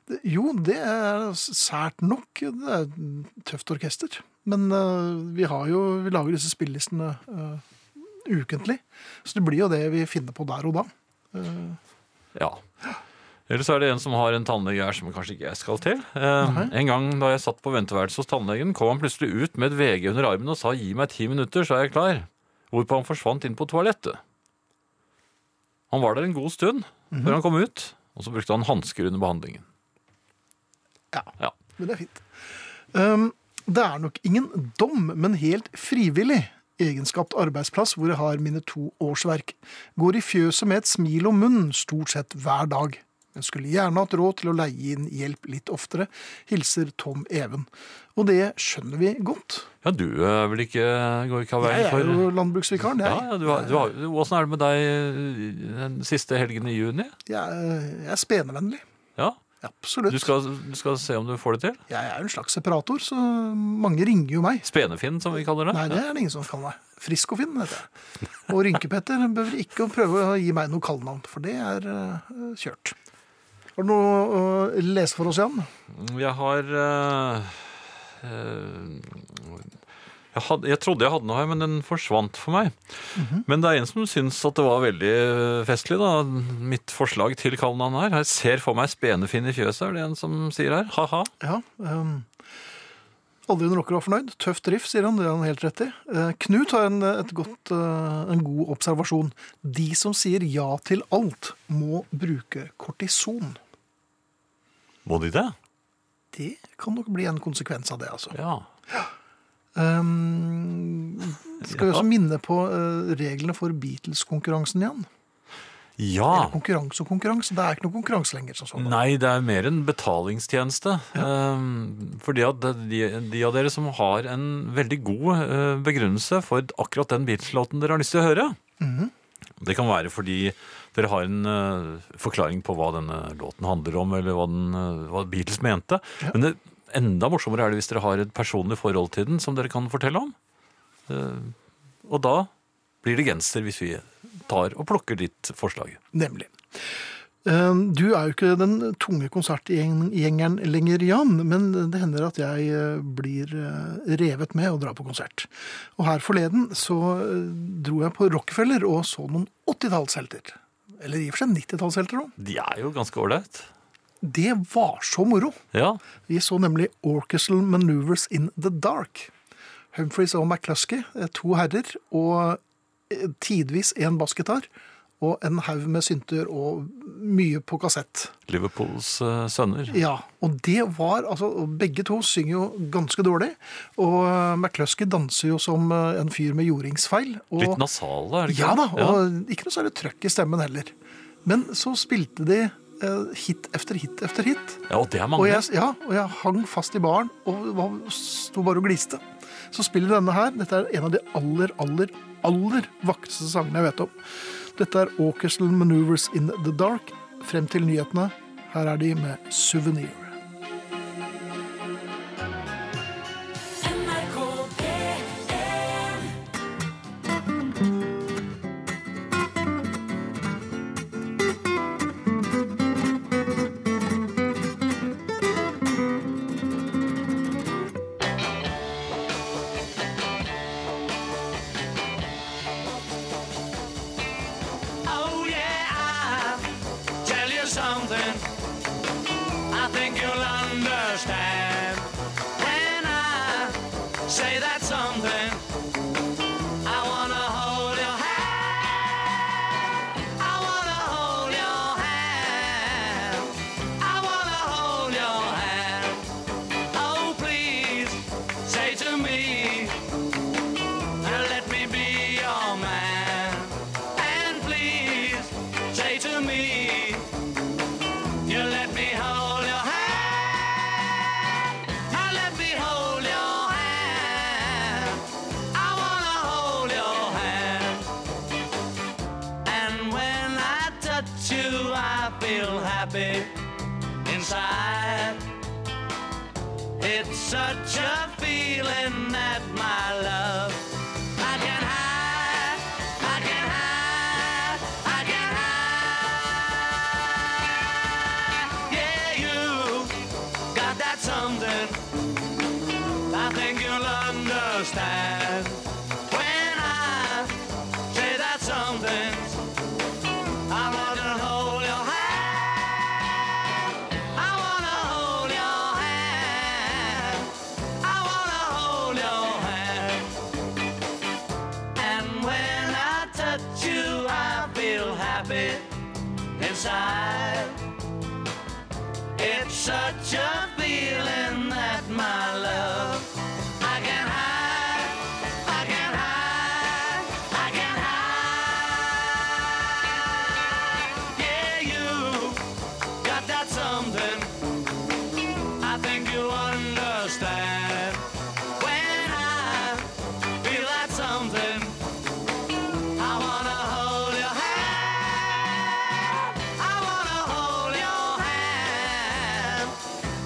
S3: Det, jo, det er sært nok. Det er et tøft orkester. Men eh, vi har jo Vi lager disse spillelistene eh, ukentlig, så det blir jo det vi finner på der og da. Eh,
S4: Ja. Eller så er det en som har en tannlege her som kanskje ikke jeg skal til. Eh,
S3: Nei.
S4: en gang da jeg satt på venteværelset hos tannlegen, kom han plutselig ut med et VG under armen og sa 'gi meg ti minutter, så er jeg klar'. Hvorpå han forsvant inn på toalettet. Han var der en god stund før
S3: Mhm.
S4: han kom ut, og så brukte han hansker under behandlingen.
S3: ja.
S4: Ja.
S3: Men det er fint. Um, det er nok ingen dom, men helt frivillig egenskapt arbeidsplass hvor jeg har mine to årsverk. Går i fjøset med et smil om munnen stort sett hver dag. Men skulle gjerne hatt råd til å leie inn hjelp litt oftere. Hilser Tom Even. Og det skjønner vi godt.
S4: ja, du er vel ikke går ikke av
S3: Jeg
S4: veien
S3: er
S4: for
S3: jo landbruksvikaren,
S4: ja,
S3: jeg.
S4: ja, du har, du har, Åssen er det med deg eh, den siste helgen i juni?
S3: Jeg er, jeg er spenevennlig.
S4: Ja,
S3: Absolutt.
S4: Du skal, du skal se om du får det til?
S3: Jeg er jo en slags separator, så mange ringer jo meg.
S4: Spenefinn, som vi kaller det.
S3: Nei, det er det ingen som kaller meg. Frisk og fin, heter jeg. Og Rynkepetter behøver ikke å prøve å gi meg noe kallenavn, for det er eh, kjørt. Har du noe å lese for oss, Jan?
S4: Jeg har eh, eh, jeg, hadde, jeg trodde jeg hadde noe her, men den forsvant for meg. Men det er en som syns at det var veldig eh, festlig, da. Mitt forslag til kallenavn her. Jeg ser for meg Spenefinn i fjøset, er det en som sier her. Ha-ha.
S3: Ja. Um, Aldri en rocker var fornøyd. Tøff drift, sier han. Det har han helt rett i. Eh, Knut har en, et godt, eh, en god observasjon. De som sier ja til alt, må bruke kortison.
S4: Må de det?
S3: Det kan nok bli en konsekvens av det, altså.
S4: Ja.
S3: Ehm, Um, skal vi også minne på eh, reglene for Beatles-konkurransen, Jan?
S4: Ja.
S3: Konkurranse og konkurranse. Det er ikke noe konkurranse lenger. Sånn, sånn.
S4: Ah. Nei, det er mer en betalingstjeneste. Eh, For de av, de, de av dere som har en veldig god eh, begrunnelse for akkurat den Beatles-låten dere har lyst til å høre, det kan være fordi dere har en eh, forklaring på hva denne låten handler om, eller hva, den, eh, hva Beatles mente. Men det, enda morsommere er det hvis dere har et personlig forhold til den som dere kan fortelle om. Eh, Og da blir det genser hvis vi tar og plukker ditt forslag.
S3: Nemlig. Eh, Du er jo ikke den tunge konsertgjengeren lenger, Jan, men det hender at jeg eh, blir eh, revet med og drar på konsert. Og her forleden så eh, dro jeg på Rockefeller og så noen 80-tallshelter. Eller i og for seg 90-tallshelter òg.
S4: De er jo ganske ålreit.
S3: Det var så moro!
S4: Ja,
S3: Vi så nemlig Orchestral Maneuvers in the Dark. Humphreys og McCluskey, eh, to herrer, og eh, tidvis en bassgitar, og en haug med synter og mye på kassett.
S4: Liverpools eh, sønner.
S3: Ja, og det var, altså, og begge to synger jo ganske dårlig, og eh, McCluskey danser jo som eh, en fyr med jordingsfeil. Og,
S4: Litt nasale, er det
S3: Ja da,
S4: Ja.
S3: og ikke noe særlig trøkk i stemmen heller. Men så spilte de eh, hit efter hit efter hit,
S4: ja, og det er mange.
S3: og jeg, ja, og jeg hang fast i baren og var, sto bare og gliste. Så spiller de denne her. Dette er en av de aller, aller, aller vakreste sangene jeg vet om. Dette er Orchestral Maneuvers in the Dark. Frem til nyhetene. Her er de med Souvenir.
S2: Oh yeah, I tell you something. I think you'll understand when I say that something. I wanna hold your hand. I wanna hold your hand. I wanna hold your hand. Oh please, say to me. Now let me be your man. And please say to me, you let me hold your hand. Now let me hold your hand. I wanna hold your hand. And when I touch you, I feel happy inside. It's such a feeling that my love I can hide, I can hide, I can hide. Yeah, you got that something. I think you'll understand when I say that something. I wanna hold your hand. I wanna hold your hand. I wanna hold your hand. And when I touch you, I feel happy inside. It's such a feeling that my love I can hide. I can hide. I can hide. Yeah, you got that something. I think you understand. When I feel that something, I wanna hold your hand. I wanna hold your hand.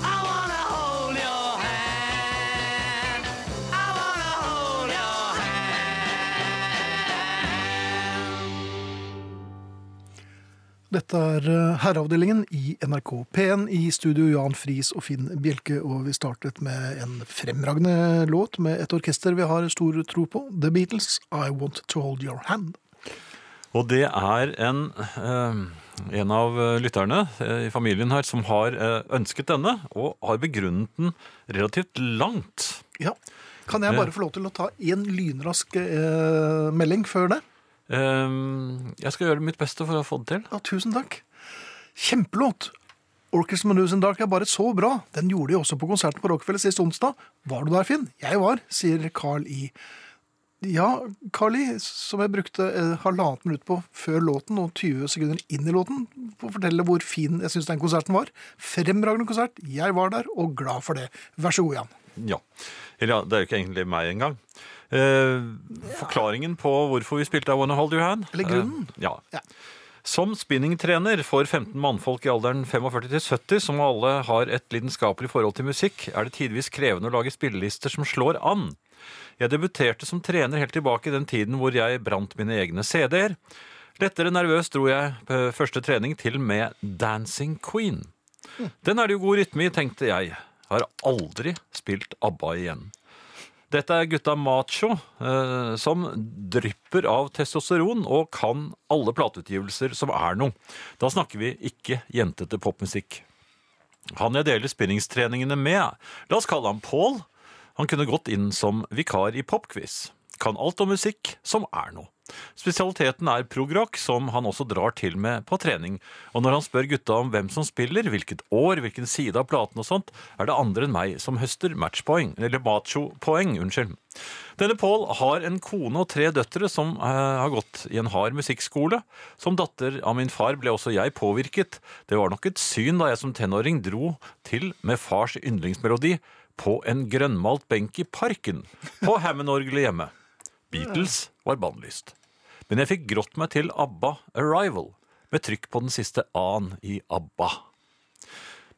S2: I wanna hold your hand. I wanna hold your hand.
S3: Dette er eh, Herreavdelingen i NRK P1 i studio Jan Friis og Finn Bjelke, og vi startet med en fremragende låt med et orkester vi har stor tro på, The Beatles, I Want To Hold Your Hand.
S4: Og det er en, eh, en av lytterne eh, i familien her som har eh, ønsket denne, og har begrunnet den relativt langt.
S3: Ja. Kan jeg bare få lov til å ta én lynrask eh, melding før det?
S4: Eh, Jeg skal gjøre mitt beste for å få det til.
S3: Ja, tusen takk. Kjempelåt! Orchestra Manews in Dark er bare så bra. Den gjorde de også på konserten på Rockefeller sist onsdag. Var du der, Finn? Jeg var, sier Carl i Ja, Carly, som jeg brukte eh, halvannet minutt på før låten og 20 sekunder inn i låten på å fortelle hvor fin jeg syns den konserten var. Fremragende konsert. Jeg var der og glad for det. Vær så god, Jan.
S4: Ja. Eller ja, det er jo ikke egentlig meg engang. Eh, forklaringen på hvorfor vi spilte I Wanna Hold Your Hand
S3: Eller
S4: eh,
S3: grunnen.
S4: ja.
S3: Ja.
S4: Som spinningtrener for 15 mannfolk i alderen 45 til 70, som alle har et lidenskapelig forhold til musikk, er det tidvis krevende å lage spillelister som slår an. Jeg debuterte som trener helt tilbake i den tiden hvor jeg brant mine egne CD-er. Lettere nervøs dro jeg på første trening til med Dancing Queen. Den er det jo god rytme i, tenkte jeg. Har aldri spilt ABBA igjen. Dette er gutta macho, eh, som drypper av testosteron og kan alle plateutgivelser som er noe. Da snakker vi ikke jentete popmusikk. Han jeg deler spinningstreningene med, la oss kalle han Pål. Han kunne gått inn som vikar i popquiz. Kan alt om musikk som er noe. Spesialiteten er progrock, som han også drar til med på trening. Og når han spør gutta om hvem som spiller, hvilket år, hvilken side av platen og sånt, er det andre enn meg som høster matchpoeng, eller machopoeng, unnskyld. Denne Pål har en kone og tre døtre som eh, har gått i en hard musikkskole. Som datter av min far ble også jeg påvirket. Det var nok et syn da jeg som tenåring dro til med fars yndlingsmelodi på en grønnmalt benk i parken på Hammond-orgelet hjemme. Beatles var bannlyst. Men jeg fikk grått meg til ABBA Arrival, med trykk på den siste A-en i ABBA.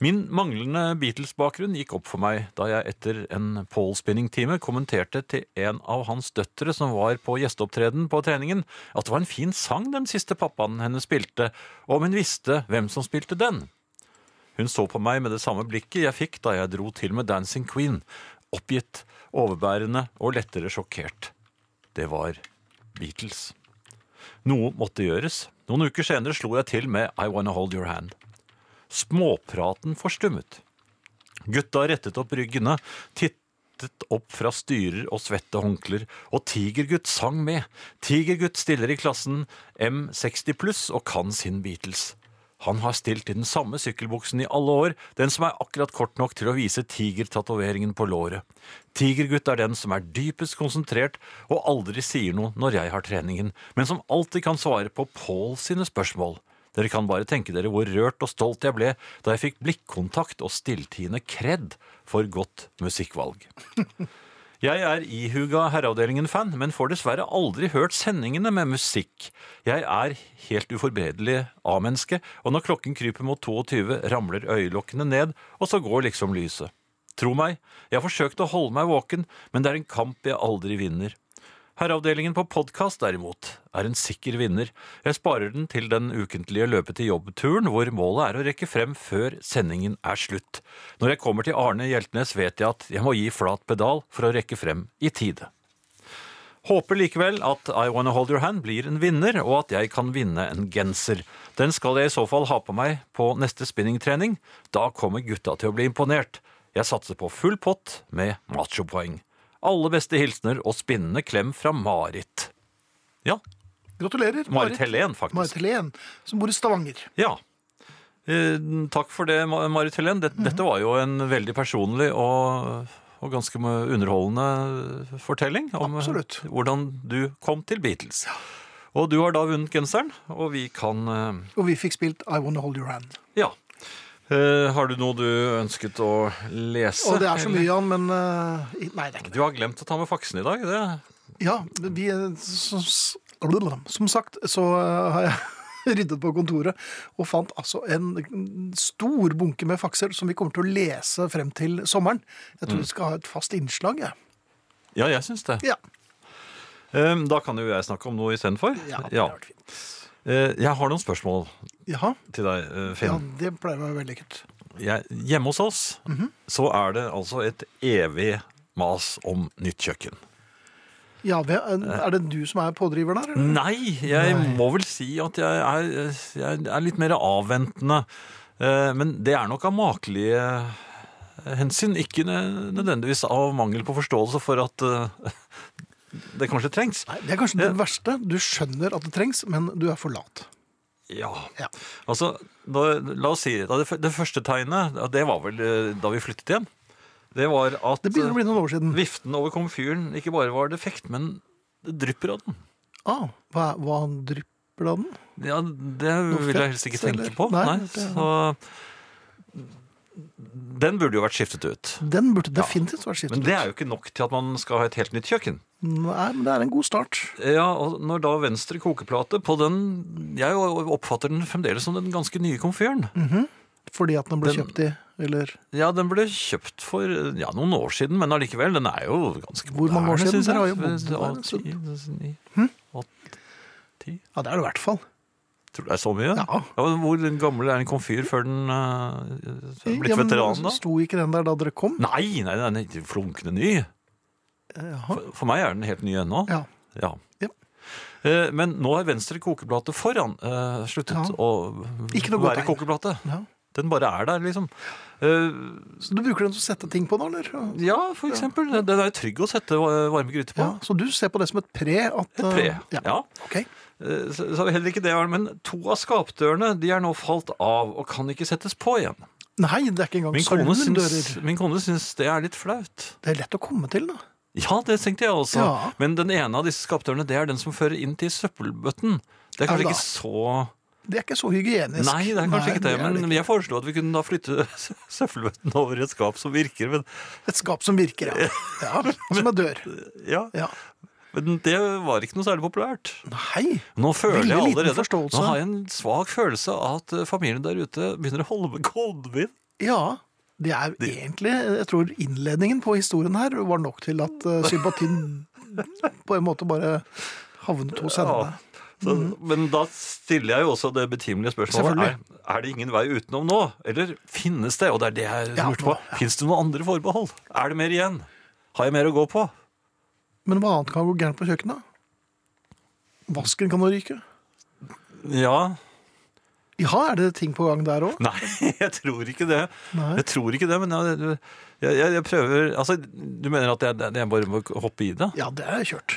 S4: Min manglende Beatles-bakgrunn gikk opp for meg da jeg etter en pole-spinning-time kommenterte til en av hans døtre som var på gjesteopptreden på treningen, at det var en fin sang den siste pappaen hennes spilte, og om hun visste hvem som spilte den. Hun så på meg med det samme blikket jeg fikk da jeg dro til med Dancing Queen, oppgitt, overbærende og lettere sjokkert. Det var Beatles. Noe måtte gjøres. Noen uker senere slo jeg til med I Wanna Hold Your Hand. Småpraten forstummet. Gutta rettet opp ryggene, tittet opp fra styrer og svette håndklær, og Tigergutt sang med. Tigergutt stiller i klassen M60 pluss og kan sin Beatles. Han har stilt i den samme sykkelbuksen i alle år, den som er akkurat kort nok til å vise tigertatoveringen på låret. Tigergutt er den som er dypest konsentrert og aldri sier noe når jeg har treningen, men som alltid kan svare på Pål sine spørsmål. Dere kan bare tenke dere hvor rørt og stolt jeg ble da jeg fikk blikkontakt og stilltiende kred for godt musikkvalg. Jeg er ihuga Herreavdelingen-fan, men får dessverre aldri hørt sendingene med musikk. Jeg er helt uforberedelig A-menneske, og når klokken kryper mot 22, ramler øyelokkene ned, og så går liksom lyset. Tro meg, jeg har forsøkt å holde meg våken, men det er en kamp jeg aldri vinner. Herreavdelingen på podkast, derimot, er en sikker vinner. Jeg sparer den til den ukentlige løpe til jobb-turen, hvor målet er å rekke frem før sendingen er slutt. Når jeg kommer til Arne Hjeltnes, vet jeg at jeg må gi flat pedal for å rekke frem i tide. Håper likevel at I Wanna Hold Your Hand blir en vinner, og at jeg kan vinne en genser. Den skal jeg i så fall ha på meg på neste spinningtrening. Da kommer gutta til å bli imponert. Jeg satser på full pott med machopoeng. Alle beste hilsener og spinnende klem fra Marit. Ja,
S3: Gratulerer.
S4: Marit Helen,
S3: Marit
S4: faktisk.
S3: Helen, som bor i Stavanger.
S4: Ja. Eh, takk for det, Ma- Marit
S3: Mhm.
S4: Helen. Det- Dette var jo en veldig personlig og, og ganske underholdende fortelling om eh,
S3: Absolutt.
S4: hvordan du kom til Beatles. Og du har da vunnet genseren, og vi kan eh,
S3: Og vi fikk spilt I Wanna Hold Your Hand.
S4: Ja. Eh, har du noe du ønsket å lese?
S3: Og det er så mye, Jan, men eh, i- Nei, det er ikke det.
S4: Du har glemt å ta med faksen i dag. Det.
S3: Ja, vi eh, som, s- som sagt så eh, har jeg ryddet på kontoret og fant altså en stor bunke med fakser som vi kommer til å lese frem til sommeren. Jeg tror vi skal ha et fast innslag, jeg.
S4: Ja, jeg syns det.
S3: Ja.
S4: Eh, da kan jo jeg snakke om noe istedenfor.
S3: Ja, det har vært fint.
S4: Eh, jeg har noen spørsmål
S3: Jaha.
S4: til deg, eh, Finn.
S3: Ja, det pleier å være vellykket.
S4: jeg, hjemme hos oss så er det altså et evig mas om nytt kjøkken.
S3: Ja, det er er det du som er pådriver der? eller?
S4: Nei, jeg må vel si at jeg er, jeg er litt mer avventende. Eh, Men det er nok av makelige hensyn. Ikke nø- nødvendigvis av mangel på forståelse for at eh, det kanskje trengs.
S3: Nei, det er kanskje det verste. Du skjønner at det trengs, men du er for lat.
S4: Ja.
S3: Ja.
S4: Altså, da, la oss si da det, det første tegnet, ja, det var vel eh, da vi flyttet hjem. Det var at
S3: Det begynner å bli noen år siden.
S4: Viften over komfyren ikke bare var defekt, men Det drypper av den.
S3: Ah, hva, hva drypper det av den?
S4: Ja, det vil
S3: fett,
S4: jeg helst ikke tenke
S3: eller?
S4: på.
S3: Nei,
S4: Nei,
S3: det-
S4: så Den burde jo vært skiftet ut.
S3: Den burde definitivt vært skiftet
S4: Men det er jo ikke nok til at man skal ha et helt nytt kjøkken.
S3: Nei, men det er en god start.
S4: Ja, og Når da venstre kokeplate på den Jeg jo oppfatter den fremdeles som den ganske nye komfyren.
S3: Mm. Fordi at den ble
S4: Den-
S3: kjøpt i Eller
S4: Ja, den ble kjøpt for ja, noen år siden, men allikevel, den er jo ganske
S3: Hvor mange år
S4: moderne,
S3: siden?
S4: synes jeg.
S3: Dere har jo bodd der en
S4: Åtti, ni, åtti, ti.
S3: Ja, det er det i hvert fall.
S4: Tror du det er så mye?
S3: Ja.
S4: men Hvor gammel er en komfyr før den uh, er blitt
S3: Ja, men
S4: veteran, da? Mm.
S3: Sto ikke den der da dere kom?
S4: Nei, nei, den er ikke flunkende ny.
S3: Jaha.
S4: For, for meg er den helt ny ennå.
S3: Eh, Ja.
S4: Ja.
S3: Ja.
S4: Eh, Men nå har venstre kokeplate foran eh, sluttet
S3: Ja.
S4: å
S3: Ikke noe godt
S4: være
S3: tegn.
S4: kokeplate.
S3: Ja.
S4: Den bare er der, liksom. Eh,
S3: Så du bruker den til å sette ting på nå, eller?
S4: Ja, for eksempel. Den er jo trygg å sette va- varme gryter på.
S3: Ja, så du ser på det som et pre? At,
S4: Et pre.
S3: uh,
S4: Ja.
S3: Ja. Ok.
S4: Eh, Så, så heller ikke det, men to av skapdørene de er nå falt av og kan ikke settes på igjen.
S3: Nei, det er ikke engang
S4: Min kone, syns,
S3: dører.
S4: min kone syns det er litt flaut.
S3: Det er lett å komme til, da.
S4: Ja, det tenkte jeg også.
S3: Ja.
S4: Men den ene av disse skapdørene det er den som fører inn til søppelbøtten. Det er
S3: Ja
S4: kanskje
S3: da.
S4: ikke så
S3: Det er ikke så hygienisk.
S4: Nei, det er kanskje ikke det,
S3: er
S4: men
S3: det
S4: jeg foreslo at vi kunne da flytte sø- søppelbøtten over i et skap som virker. Men,
S3: ikke. Et skap som virker, ja. ja som er dør.
S4: ja,
S3: Ja.
S4: men det var ikke noe særlig populært.
S3: Nei!
S4: Nå føler jeg
S3: Veldig liten
S4: allerede
S3: forståelse.
S4: Nå har jeg en svak følelse av at eh, familien der ute begynner å holde med kolben.
S3: Ja. Det er egentlig Jeg tror innledningen på historien her var nok til at uh, sympatien på en måte bare havnet hos henne.
S4: Så, Men da stiller jeg jo også det betimelige
S3: Mhm.
S4: spørsmålet.
S3: Selvfølgelig.
S4: Er, er det ingen vei utenom nå? Eller finnes det? Og det er det jeg
S3: Ja,
S4: lurte på.
S3: nå, ja.
S4: Fins det noen andre forbehold? Er det mer igjen? Har jeg mer å gå på?
S3: Men hva annet kan gå gærent på kjøkkenet? Vasken kan jo ryke.
S4: Ja.
S3: Ja, er det ting på gang der òg?
S4: Nei, jeg tror ikke det.
S3: Nei.
S4: Jeg tror ikke det, men jeg, jeg, jeg, jeg prøver Altså, du mener at jeg, jeg bare må hoppe i det?
S3: Ja, det er kjørt.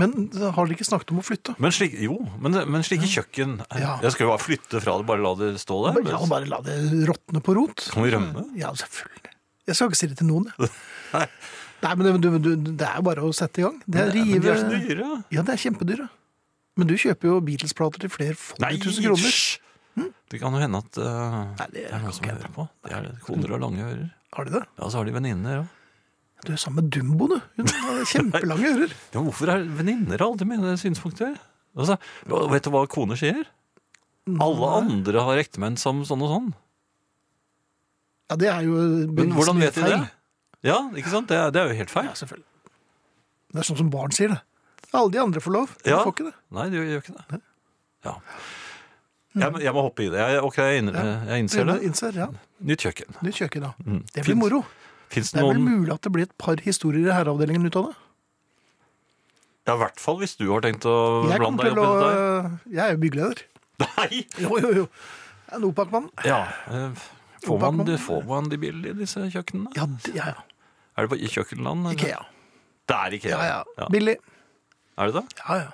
S3: Men har dere ikke snakket om å flytte?
S4: Men slik, jo, men, men slike kjøkken
S3: Ja.
S4: Jeg skal jo bare flytte fra det, bare la det stå der.
S3: Ja, bare la det råtne på rot.
S4: Kan vi rømme?
S3: Ja, selvfølgelig. Jeg skal ikke si det til noen. jeg. Nei, men du, du, det er jo bare å sette i gang. Det er
S4: Men de
S3: rive
S4: er så dyre.
S3: Ja, det er kjempedyre. Men du kjøper jo Beatles-plater til flere
S4: Nei,
S3: hundre tusen kroner.
S4: hysj! Det kan jo hende at eh,
S3: Nei,
S4: det
S3: det
S4: er
S3: kan
S4: noen som
S3: ikke
S4: hører på. Det er koner og lange ører.
S3: Har de det?
S4: Ja, så har de venninner òg.
S3: Du er sammen med Dumbo, du. Hun har kjempelange ører.
S4: Ja, hvorfor er venninner alltid med det synspunktet? Altså, og vet du hva koner sier? Alle andre har ektemenn som sånn og sånn.
S3: Ja, det er jo
S4: Men hvordan vet de det?
S3: feil.
S4: Ja, ikke sant? Det er, det er jo helt feil.
S3: Ja, selvfølgelig. Det er sånn som barn sier det. Alle de andre får lov. Du
S4: Ja.
S3: får ikke det.
S4: Nei, det gjør- gjør ikke det. Ja.
S3: Mm.
S4: Jeg, må- jeg må hoppe i det. Jeg, ok, jeg, innre, jeg innser det.
S3: Innser, ja.
S4: Nytt kjøkken.
S3: Nytt kjøkken, ja. Det blir
S4: Fint.
S3: moro.
S4: Fins
S3: Det
S4: det
S3: er vel
S4: noen
S3: mulig at det blir et par historier i herreavdelingen ut av det.
S4: Ja, i hvert fall hvis du har tenkt å
S3: Jeg,
S4: blande
S3: kommer
S4: deg
S3: til å,
S4: opp i dette.
S3: jeg er jo byggeleder.
S4: Nei!
S3: Jo, jo, jo. Jeg er En opakmann.
S4: Ja, eh, får man, de- får man de billige, disse kjøkkenene?
S3: Ja, det- ja, ja.
S4: Er det på i kjøkkenland? eller?
S3: Ikea.
S4: Det er Ikea.
S3: Ja, ja.
S4: Ja.
S3: Billig.
S4: Er det det?
S3: Ja, ja.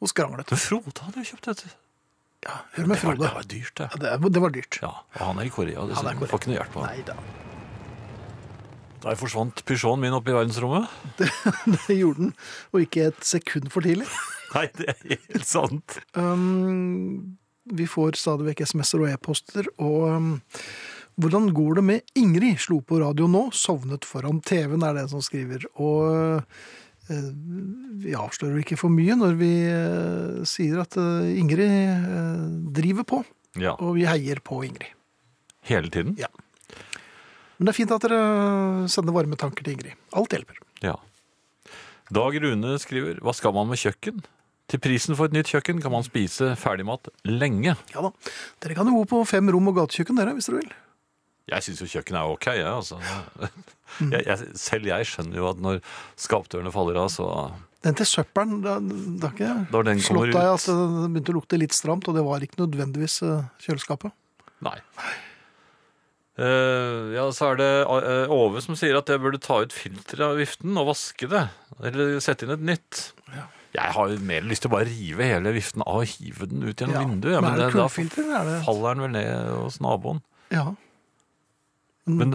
S3: Og skranglet.
S4: Men Frode hadde jo kjøpt dette.
S3: Ja, hør med
S4: Det var,
S3: Frode.
S4: det var dyrt, det.
S3: Ja, det, det var dyrt.
S4: Ja, og han er i Korea,
S3: Han er i
S4: dessuten.
S3: Korea.
S4: Får ikke noe hjelp av ham.
S3: Nei da.
S4: Der forsvant Peugeoten min oppe i verdensrommet.
S3: Det gjorde den, og ikke et sekund for tidlig.
S4: Nei, det er helt sant.
S3: Um, vi får stadig vekk SMS-er og e-poster, og um, hvordan går det med Ingrid? Slo på radio nå, sovnet foran TV-en, er det en som skriver. Og eh, vi avslører ikke for mye når vi eh, sier at eh, Ingrid eh, driver på,
S4: Ja,
S3: og vi heier på Ingrid.
S4: hele tiden.
S3: Ja. Men det er fint at dere eh, sender varme tanker til Ingrid. Alt hjelper.
S4: Ja. Dag Rune skriver, hva skal man med kjøkken? Til prisen for et nytt kjøkken kan man spise ferdigmat lenge.
S3: Ja da. Dere kan jo bo på fem rom og gatekjøkken, dere, hvis dere vil.
S4: Jeg syns jo kjøkkenet er ok, jeg, altså. Jeg, jeg, selv jeg skjønner jo at når skapdørene faller av, så
S3: Den til søppelen, da, da har ikke
S4: Da den
S3: jeg
S4: kommer
S3: slått deg
S4: ut.
S3: at det begynte å lukte litt stramt, og det var ikke nødvendigvis eh, kjøleskapet.
S4: Nei. Eh, ja, så er det eh, Ove som sier at jeg burde ta ut filteret av viften og vaske det. Eller sette inn et nytt. Jeg har jo mer lyst til å bare rive hele viften av og hive den ut gjennom
S3: Ja.
S4: vinduet. ja,
S3: Men er det
S4: da
S3: kullfilter, eller er det-
S4: faller den vel ned hos naboen.
S3: Ja.
S4: Men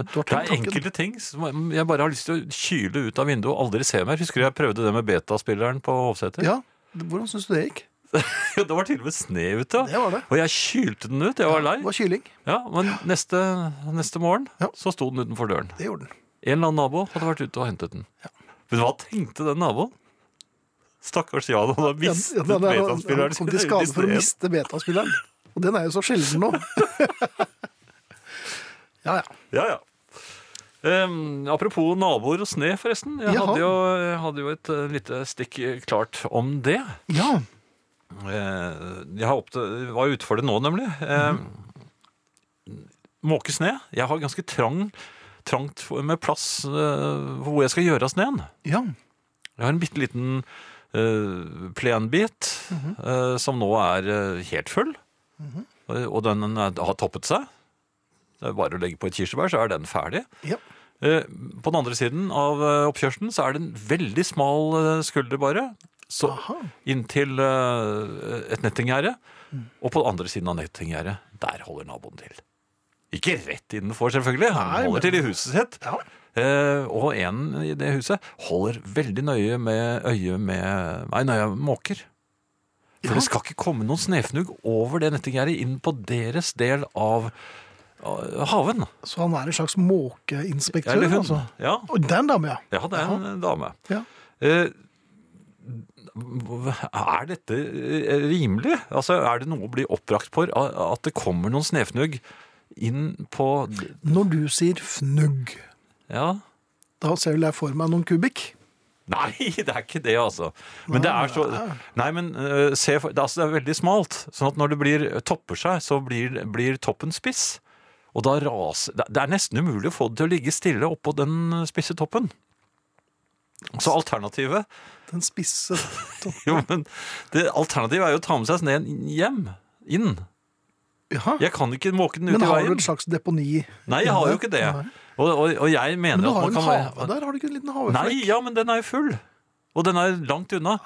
S3: Mm, du har
S4: det er
S3: tenkt tanken.
S4: enkelte ting som jeg bare har lyst til å kyle ut av vinduet og aldri se mer. Husker du jeg prøvde det med betaspilleren på Hovseter?
S3: Ja, Hvordan syns du det gikk?
S4: Ja, det var til og med sne ute.
S3: Det var det.
S4: Og jeg kylte den ut. Jeg var lei.
S3: Det var kylling.
S4: Ja, Men neste, neste morgen
S3: Ja.
S4: så sto den utenfor døren.
S3: Det gjorde den.
S4: En eller annen nabo hadde vært ute og hentet den. Men hva tenkte den naboen? Stakkars Jan, han har
S3: Ja,
S4: mistet
S3: ja, da- da- han
S4: betaspilleren
S3: kom til skade for å miste betaspilleren. Og den er jo så sjelden nå. ja, ja.
S4: Ja, ja. Em, apropos naboer og sne, forresten. Jeg
S3: Jaha.
S4: hadde jo, jeg hadde jo et eh, lite stikk eh, klart om det.
S3: Ja,
S4: Eh, Jeg har oppte, var ute for det nå, nemlig. Eh, Måke sne. Jeg har ganske trang, trangt for- med plass eh, for hvor jeg skal gjøre av sneen.
S3: ja.
S4: Jeg har en bitte liten eh, plenbit eh, som nå er eh, helt full. Eh, Og den er, har toppet seg. Det er bare å legge på et kirsebær, så er den ferdig.
S3: ja.
S4: Eh, På den andre siden av eh, oppkjørselen så er det en veldig smal eh, skulder bare. Så
S3: Aha.
S4: inntil eh, et nettinggjerde. Og på den andre siden av nettinggjerdet, der holder naboen til. Ikke rett innenfor, selvfølgelig. Han
S3: Nei,
S4: holder
S3: men-
S4: til i huset sitt.
S3: Ja.
S4: Eh, og en i det huset holder veldig nøye med øye med Nei, nøye med måker. For
S3: Ja.
S4: det skal ikke komme noen snefnugg over det nettinggjerdet inn på deres del av eh, haven.
S3: Så han er en slags måkeinspektør,
S4: Eller hun.
S3: altså?
S4: Ja.
S3: Og den dame, ja.
S4: ja, det er en dame.
S3: ja.
S4: Eh, Er dette eh, rimelig? Altså, er det noe å bli oppbrakt for a- at det kommer noen snefnugg inn på
S3: Når du sier fnugg,
S4: Ja.
S3: da ser vel jeg for meg noen kubikk?
S4: Nei, det er ikke det, altså. Men det er så Nei, men eh, se for det, er- altså, det er veldig smalt. Sånn at når det blir, topper seg, så blir, blir toppen spiss. Og da raser det- Det er nesten umulig å få det til å ligge stille oppå den eh, spisse toppen. Så alternativet
S3: Den spisse
S4: Jo, men det alternativet er jo å ta med seg sneen hjem. Inn.
S3: Jaha.
S4: Jeg kan ikke måke den ut
S3: Men
S4: i
S3: har du
S4: veien.
S3: et slags deponi?
S4: Nei, jeg har jo ikke det.
S3: Nei.
S4: Og, og, og jeg mener
S3: Men du
S4: at
S3: har jo
S4: man
S3: en
S4: kan
S3: hage der, har du ikke en liten
S4: Nei,
S3: haveflekk?
S4: ja, men den er jo full. Og den er langt unna.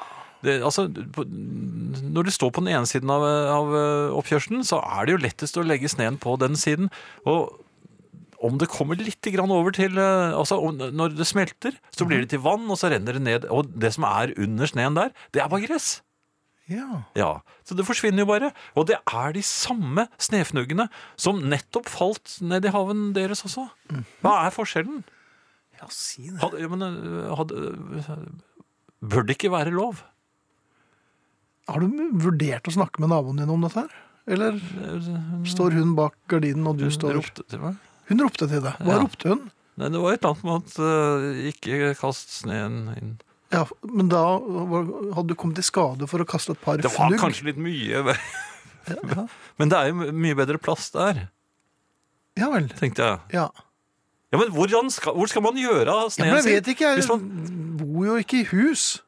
S4: Det, altså, på, når du står på den ene siden av, av eh, oppkjørselen, så er det jo lettest å legge sneen på den siden. Og om det kommer litt grann over til eh, altså, om, Når det smelter, så blir det til vann, og så renner det ned. Og det som er under sneen der, det er bare gress.
S3: Ja.
S4: Ja, så det forsvinner jo bare. Og det er de samme snefnuggene som nettopp falt ned i haven deres også. Hva er forskjellen?
S3: ja, si det.
S4: Had, ja, men, øh, had, øh, bør det ikke være lov?
S3: Har du vurdert å snakke med naboen din om dette her? Eller står hun bak gardinen, og du står
S4: Mm, Ropte til meg.
S3: Hun ropte til deg. Hva
S4: Ja.
S3: ropte hun?
S4: Nei, det var et eller annet med at øh, ikke kast sneen inn.
S3: Ja, Men da var- hadde du kommet i skade for å kaste et par
S4: Det var
S3: fnugg?
S4: kanskje litt mye, men- men det er jo mye bedre plass der,
S3: Ja vel.
S4: tenkte jeg.
S3: Ja.
S4: Ja, men hvordan skal, Hvor skal man gjøre
S3: ja
S4: av sneen
S3: men jeg
S4: sin?
S3: vet ikke, jeg
S4: Hvis man-
S3: bor jo ikke i hus.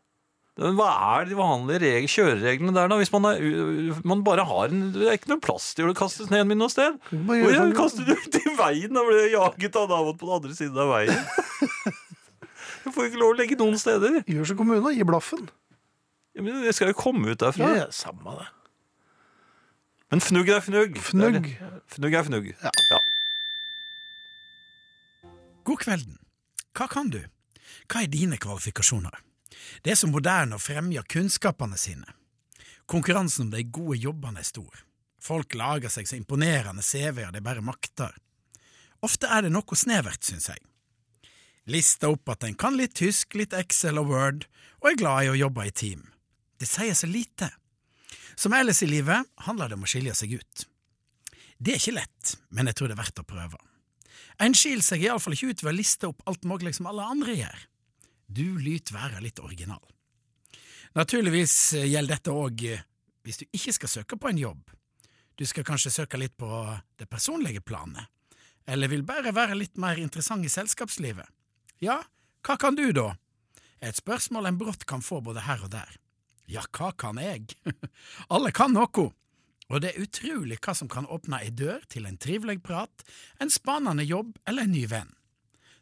S4: Men Hva er de vanlige reg kjørereglene der, da? Hvis man, er, man bare har en Det er ikke noe plass til å kaste sneen min noe sted.
S3: Hva
S4: Og
S3: gjør
S4: jeg
S3: man?
S4: kaster den ut i veien da blir jeg jaget av naboen på den andre siden av veien. Jeg får ikke lov å legge noen steder.
S3: Gjør som kommune, gi blaffen.
S4: Ja, Men jeg skal jo komme ut derfra.
S3: Ja, samme det.
S4: Men fnugg er fnugg.
S3: Fnugg.
S4: Det er- Fnugg er fnugg.
S3: Ja.
S4: Ja.
S5: God kvelden. Hva kan du? Hva er dine kvalifikasjoner? Det er så moderne å fremje kunnskapene sine. Konkurransen om de gode jobbene er stor. Folk lager seg så imponerende CV-er de bare makter. Ofte er det noe snevert, synes jeg. Lista opp at en kan litt tysk, litt Excel og Word, og er glad i å jobbe i team. Det sier så lite. Som ellers i livet handler det om å skille seg ut. Det er ikke lett, men jeg tror det er verdt å prøve. En skil seg iallfall ikke ut ved å liste opp alt mulig som alle andre gjør. Du lyt være litt original. Naturligvis eh, gjelder dette òg hvis du ikke skal søke på en jobb. Du skal kanskje søke litt på det personlige planet, eller vil bare være litt mer interessant i selskapslivet. Ja, hva kan du da? er et spørsmål en brått kan få både her og der. Ja, hva kan jeg? Alle kan noe. Og det er utrolig hva som kan åpne ei dør til en trivelig prat, en spennende jobb eller en ny venn.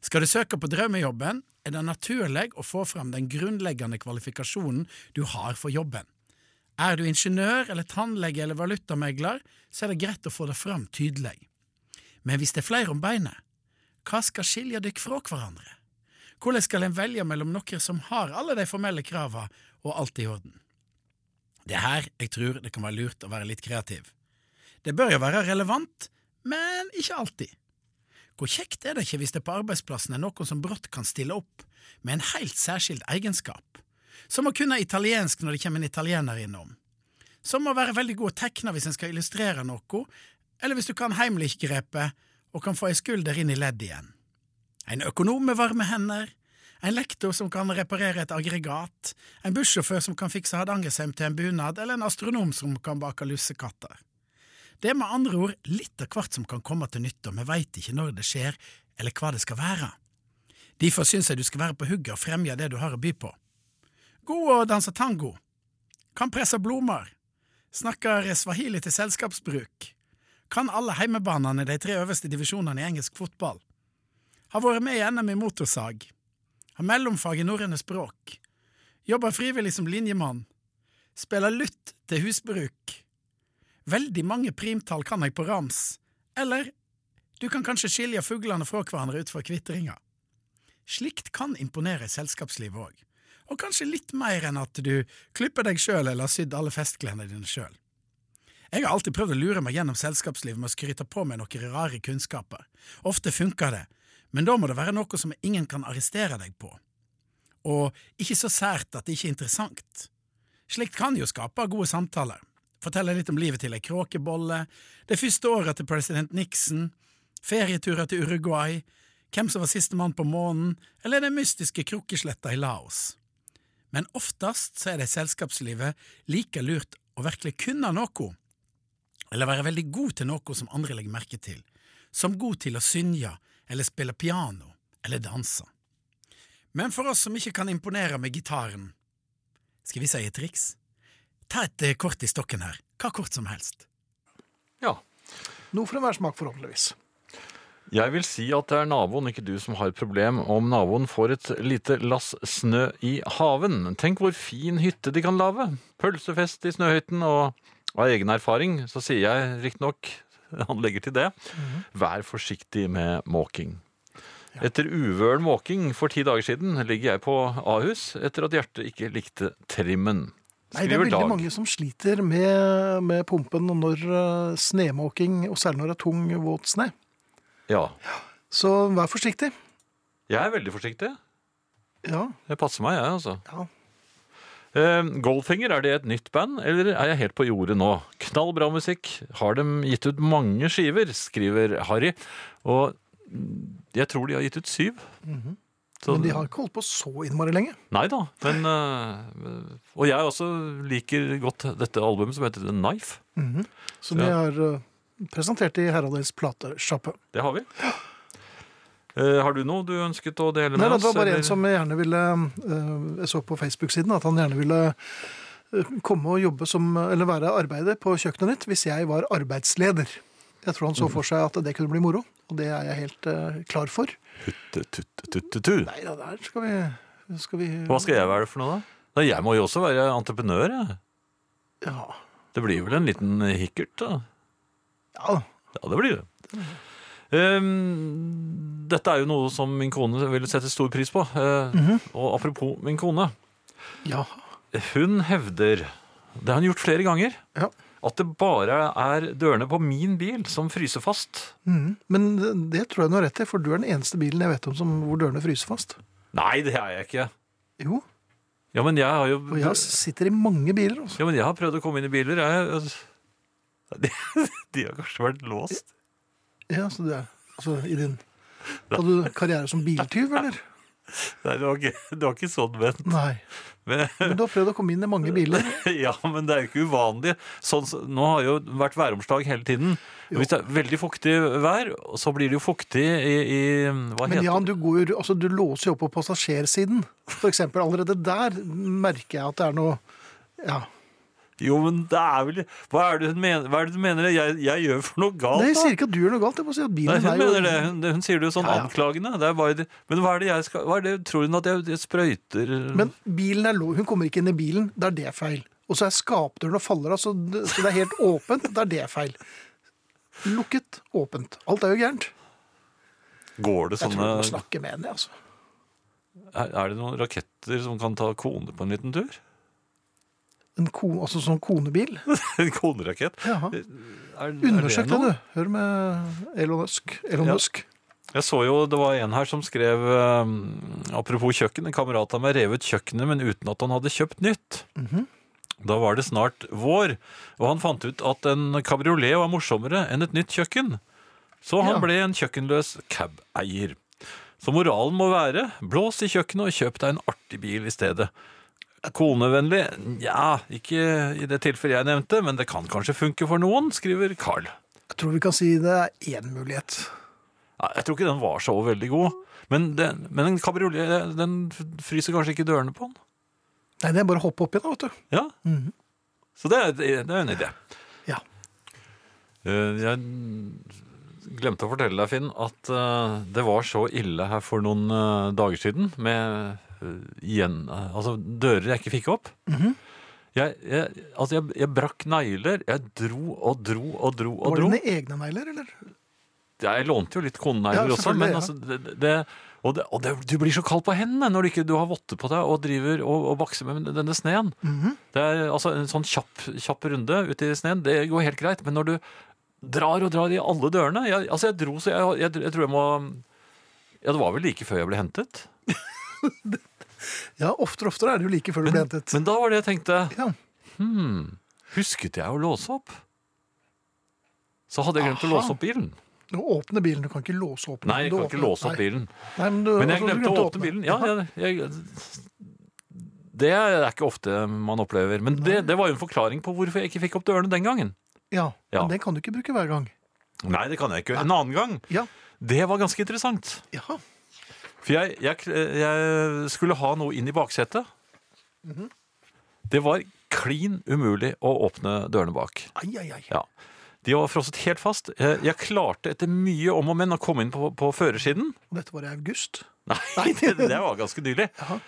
S5: Skal du søke på drømmejobben, er det naturlig å få fram den grunnleggende kvalifikasjonen du har for jobben. Er du ingeniør eller tannlege eller valutamegler, så er det greit å få det fram tydelig. Men hvis det er flere om beinet, Hva skal skilje dykk fra hverandre? Hvordan skal en velge mellom noen som har alle de formelle krava og alt i orden? Det er her jeg tror det kan være lurt å være litt kreativ. Det bør jo være relevant, men ikke alltid. Hvor kjekt er det ikke hvis det på arbeidsplassen er noen som brått kan stille opp med en helt særskilt egenskap, som å kunne italiensk når det kommer en italiener innom, som å være veldig god å tegne hvis en skal illustrere noe, eller hvis du kan Heimlich-grepet og kan få ei skulder inn i ledd igjen. En økonom med varme hender, en lektor som kan reparere et aggregat, en bussjåfør som kan fikse Hardangersheim til en bunad, eller en astronom som kan bake lussekatter. Det er med andre ord litt av hvert som kan komme til nytte, og vi veit ikke når det skjer, eller hva det skal være. Derfor syns jeg du skal være på hugget og fremje det du har å by på. God å danse tango. Kan presse blomer. Snakker swahili til selskapsbruk. Kan alle heimebanene i de tre øverste divisjonene i engelsk fotball. Har vært med i NM i motorsag. Har mellomfag i norrøne språk. Jobber frivillig som linjemann. Spiller lutt til husbruk. Veldig mange primtall kan jeg på rams. Eller du kan kanskje skilje fuglene fra hverandre ut fra kvitringa. Slikt kan imponere i selskapslivet òg. Og kanskje litt mer enn at du klipper deg sjøl eller har sydd alle festklærne dine sjøl. Jeg har alltid prøvd å lure meg gjennom selskapslivet med å skryte på meg noen rare kunnskaper. Ofte funker det, men da må det være noe som ingen kan arrestere deg på. Og ikke så sært at det ikke er interessant. Slikt kan jo skape gode samtaler. Fortelle litt om livet til ei kråkebolle, det første året til president Nixon, ferieturer til Uruguay, hvem som var sistemann på månen, eller den mystiske krukkesletta i Laos. Men oftest så er det i selskapslivet like lurt å virkelig kunne noe, eller være veldig god til noe som andre legger merke til, som god til å synge, eller spille piano, eller danse. Men for oss som ikke kan imponere med gitaren, skal vi si et triks? Ta et eh, kort i stokken her, hva kort som helst.
S4: Ja.
S3: Noe for enhver smak, forhåpentligvis.
S4: Jeg vil si at det er naboen, ikke du, som har et problem om naboen får et lite lass snø i haven. Tenk hvor fin hytte de kan lage. Pølsefest i snøhytten, og av egen erfaring så sier jeg riktignok, han legger til det,
S3: Mhm.
S4: vær forsiktig med måking. Etter uvøren måking for ti dager siden ligger jeg på Ahus etter at hjertet ikke likte
S3: Nei,
S4: trimmen.
S3: det er
S4: Skriver
S3: veldig
S4: Dag.
S3: mange som sliter med, med pumpen når eh, snemåking, og særlig når det er tung, våt sne.
S4: Ja.
S3: Så vær forsiktig.
S4: Jeg er veldig forsiktig.
S3: Ja,
S4: Jeg passer meg, jeg, altså.
S3: ja.
S4: Eh, Goldfinger, er det et nytt band, eller er jeg helt på jordet nå? Knallbra musikk. Har de gitt ut mange skiver, skriver Harry. Og mm, jeg tror de har gitt ut syv. Så-
S3: Mhm. Men de har ikke holdt på så innmari lenge.
S4: Nei da, men eh, Og jeg også liker godt dette albumet som heter The Knife.
S3: Mhm. Så de
S4: Ja.
S3: har eh, presentert i Herreldels platesjappe.
S4: Det har vi. Eh, har du noe du ønsket å dele
S3: Nei,
S4: med
S3: da,
S4: oss?
S3: det var bare
S4: eller?
S3: en som gjerne ville eh, Jeg så på Facebook-siden at han gjerne ville eh, komme og jobbe som Eller være arbeider på kjøkkenet ditt hvis jeg var arbeidsleder. Jeg tror han
S4: Mm.
S3: så for seg at det kunne bli moro, og det er jeg helt eh, klar for.
S4: Tut, tut, tut, tut, tut.
S3: Nei da, der skal vi, skal vi
S4: Hva skal jeg være for noe, da? Nei, jeg må jo også være entreprenør, jeg.
S3: Ja.
S4: Det blir vel en liten hikkert, da.
S3: ja.
S4: Ja, det blir det. Ehm, dette er jo noe som min kone ville sette stor pris på. Eh, Og apropos min kone.
S3: Ja.
S4: Hun hevder, det har hun gjort flere ganger,
S3: Ja.
S4: at det bare er dørene på min bil som fryser fast.
S3: Mhm. Men det- det tror jeg du har rett i, for du er den eneste bilen jeg vet om som, hvor dørene fryser fast.
S4: Nei, det er jeg ikke.
S3: Jo,
S4: Ja, men jeg har jo
S3: og jeg sitter i mange biler. Altså.
S4: ja, men jeg har prøvd å komme inn i biler. Jeg, de, de har kanskje vært låst.
S3: Ja, så du er altså, i din Hadde du karriere som biltyv, eller?
S4: Nei, det var ikke, det var ikke sånn ment.
S3: Nei.
S4: Men,
S3: Men du har prøvd å komme inn i mange biler.
S4: Ja, men det er jo ikke uvanlig. Sånn, som- nå har jo vært væromslag hele tiden. Og Hvis det er veldig fuktig vær, så blir det jo fuktig i, i Hva
S3: Men
S4: heter
S3: Jan, du, går, jo- altså, du låser jo opp på passasjersiden. For eksempel, allerede der merker jeg at det er noe Ja.
S4: det? Jo, men det er vel Hva er det hun mener? Hva er det du mener? Jeg, jeg gjør for noe galt,
S3: Nei, jeg
S4: da?
S3: sier ikke at du gjør noe galt. Jeg bare sier at
S4: Nei,
S3: bilen
S4: hun
S3: er jo
S4: mener det. Hun, hun sier det jo sånn
S3: Ja, ja.
S4: anklagende. Det er bare, det- men hva er det jeg skal hva er det, Tror hun at jeg, jeg sprøyter
S3: Men bilen er lov. Hun kommer ikke inn i bilen. Det er det feil. Og så er skapdøren og faller av, så det så det er helt åpent. Det er det feil. Lukket, åpent. Alt er jo gærent.
S4: Går det
S3: Jeg tror du må
S4: sånne
S3: snakke med henne, altså.
S4: er, er det noen raketter som kan ta kone på en liten tur?
S3: En ko, altså sånn konebil.
S4: En konerakett?
S3: Jaha.
S4: Er- er det
S3: Undersøk det,
S4: noe?
S3: du. Hør med Elon Musk. Elon
S4: Ja.
S3: Musk.
S4: Jeg så jo det var en her som skrev eh, Apropos kjøkken, en kamerat av meg revet kjøkkenet, men uten at han hadde kjøpt nytt. Da var det snart vår, og han fant ut at en kabriolet var morsommere enn et nytt kjøkken. Så han
S3: Ja.
S4: ble en kjøkkenløs cab-eier. Så moralen må være blås i kjøkkenet og kjøp deg en artig bil i stedet. Konevennlig? Nja, ikke i det tilfellet jeg nevnte, men det kan kanskje funke for noen, skriver Carl.
S3: Jeg tror vi kan si det er én mulighet.
S4: Nei, jeg tror ikke den var så veldig god. Men, det, men en kabriolet den fryser kanskje ikke dørene på den.
S3: Nei, det er bare å hoppe opp igjen, da, vet du.
S4: Ja. Så det, er- det er en idé.
S3: Ja.
S4: Eh, Jeg glemte å fortelle deg, Finn, at eh, det var så ille her for noen eh, dager siden med eh, igjen, eh, altså dører jeg ikke fikk opp.
S3: Mhm.
S4: jeg, jeg, altså jeg, jeg brakk negler. Jeg dro og dro og dro og
S3: Var
S4: dro.
S3: det dine egne negler, eller?
S4: Jeg lånte jo litt konenegler
S3: Ja,
S4: også,
S3: selvfølgelig,
S4: men
S3: ja.
S4: altså det, det, og, det, og det, du blir så kald på hendene når du ikke du har votter på deg og driver og, og bakser med denne sneen.
S3: Mhm.
S4: Det er altså En sånn kjapp, kjapp runde ute i sneen, det går helt greit. Men når du drar og drar i alle dørene Jeg, altså jeg dro så jeg, jeg, jeg tror jeg må Ja, det var vel like før jeg ble hentet.
S3: Ja, oftere og oftere er det jo like før du blir hentet.
S4: Men da var det jeg tenkte
S3: Ja.
S4: hmm, Husket jeg å låse opp? Så hadde jeg glemt å
S3: Aha.
S4: låse opp bilen.
S3: Du åpner bilen, du kan ikke låse opp den.
S4: Nei, jeg
S3: Du
S4: kan ikke
S3: åpner-
S4: låse
S3: Nei.
S4: opp bilen.
S3: Nei, men, du,
S4: Men jeg
S3: altså, du
S4: glemte å åpne bilen. Ja, jeg, jeg, det er ikke ofte man opplever. Men det, det var jo en forklaring på hvorfor jeg ikke fikk opp dørene den gangen.
S3: Ja,
S4: Ja.
S3: men den kan du ikke bruke hver gang.
S4: Nei, det kan jeg ikke. En annen gang.
S3: Ja,
S4: Det var ganske interessant.
S3: ja.
S4: For jeg, jeg, jeg skulle ha noe inn i baksetet.
S3: Mhm.
S4: Det var klin umulig å åpne dørene bak.
S3: Ai, ai, ai.
S4: Ja. De var frosset helt fast. Jeg, jeg klarte etter mye om og men å komme inn på, på førersiden.
S3: Og dette var i august.
S4: Nei, det, det var ganske nylig.
S3: Jaha.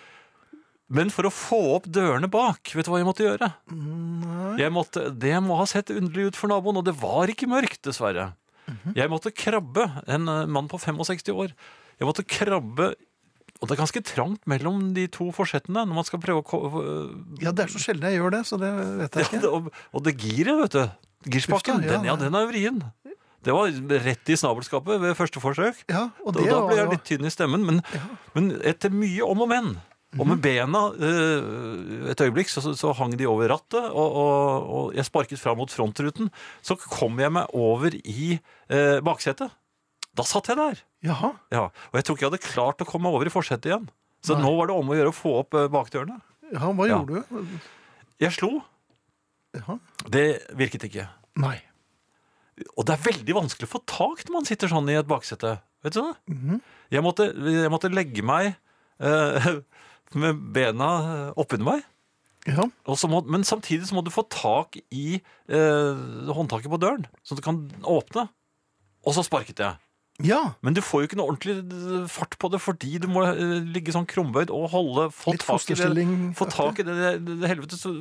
S4: Men for å få opp dørene bak, vet du hva jeg måtte gjøre? Jeg måtte, det må ha sett underlig ut for naboen, og det var ikke mørkt, dessverre. Jeg måtte krabbe, en eh, mann på 65 år. Jeg måtte krabbe Og det er ganske trangt mellom de to forsettene når man skal prøve å ko-
S3: Ja, det er så sjelden jeg gjør det, så det vet jeg
S4: ja, det,
S3: ikke.
S4: og, og det giret, vet du. Girspaken,
S3: Uff da, ja.
S4: den, ja, den er jo vrien. Det var rett i snabelskapet ved første forsøk.
S3: Ja, og
S4: Og
S3: det
S4: da ble
S3: var
S4: jeg
S3: jo...
S4: litt tynn i stemmen, men, men etter mye om og men, og
S3: Mhm.
S4: med bena eh, et øyeblikk, så, så- så hang de over rattet, og, og, og jeg sparket fra mot frontruten. Så kom jeg meg over i eh, baksetet. Da satt jeg der.
S3: Jaha,
S4: Ja, og jeg tror ikke jeg hadde klart å komme meg over i forsetet igjen. Så
S3: Nei.
S4: nå var det om å gjøre å få opp eh, bakdørene.
S3: ja, hva
S4: Ja.
S3: gjorde du?
S4: Jeg slo.
S3: Jaha.
S4: Det virket ikke.
S3: Nei.
S4: Og det er veldig vanskelig å få tak når man sitter sånn i et baksete. Vet du det?
S3: Mhm,
S4: jeg, måtte, jeg måtte legge meg eh, med bena eh, oppunder meg.
S3: Ja,
S4: Og så må, men samtidig så må du få tak i eh, håndtaket på døren, så du kan åpne. Og så sparket jeg.
S3: ja.
S4: Men du får jo ikke noe ordentlig eh, fart på det fordi du må eh, ligge sånn krumbøyd og holde, få
S3: litt
S4: tak i det,
S3: fosterstilling.
S4: få tak i det, det, det helvete. Så,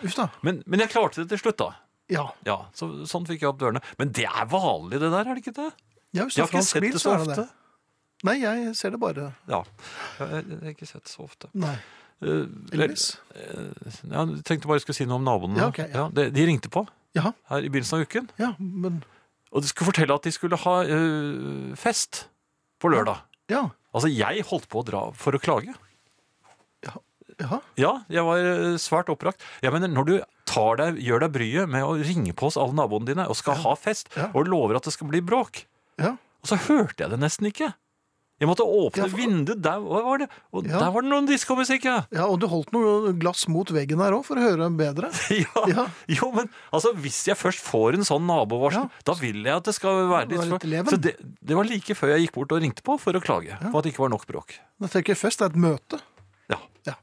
S3: Uff da.
S4: men, men jeg klarte det til slutt, da.
S3: Ja,
S4: Ja, så, sånn fikk jeg opp dørene. Men det er vanlig, det der, er det ikke det?
S3: ja hvis det
S4: Jeg
S3: er
S4: har ikke
S3: fransk
S4: sett
S3: bil,
S4: det
S3: så
S4: så
S3: er det
S4: ofte.
S3: det. Nei, jeg ser det bare.
S4: Ja, jeg, jeg har ikke sett det så ofte.
S3: Nei,
S4: Eh,
S3: Elvis.
S4: Ja, jeg tenkte bare jeg skulle si noe om naboene.
S3: Ja, ok, ja.
S4: de, de ringte på
S3: Jaha,
S4: her i begynnelsen av uken,
S3: ja, men...
S4: og de skulle fortelle at de skulle ha eh, fest på lørdag.
S3: Ja,
S4: Altså, jeg holdt på å dra for å klage.
S3: jaha.
S4: Ja, jeg var eh, svært oppbrakt. Jeg mener, når du tar deg, gjør deg bryet med å ringe på oss alle naboene dine og skal ha fest,
S3: Ja.
S4: og lover at det skal bli bråk,
S3: Ja.
S4: og så hørte jeg det nesten ikke. Jeg måtte åpne
S3: Ja, for-
S4: vinduet, der var det, og
S3: Ja.
S4: der var det noen diskomusikk, ja.
S3: Ja, og du holdt noe glass mot veggen der også, for å høre bedre.
S4: Ja.
S3: Ja.
S4: Jo, men altså, hvis jeg først får en sånn nabovarsel, da vil jeg at det skal være
S3: Det
S4: litt,
S3: var litt leven.
S4: Så det, det var like før jeg gikk bort og ringte på for å klage på at det ikke var nok bråk.
S3: Dette er ikke fest, det er et møte.
S4: Ja.
S3: Ja.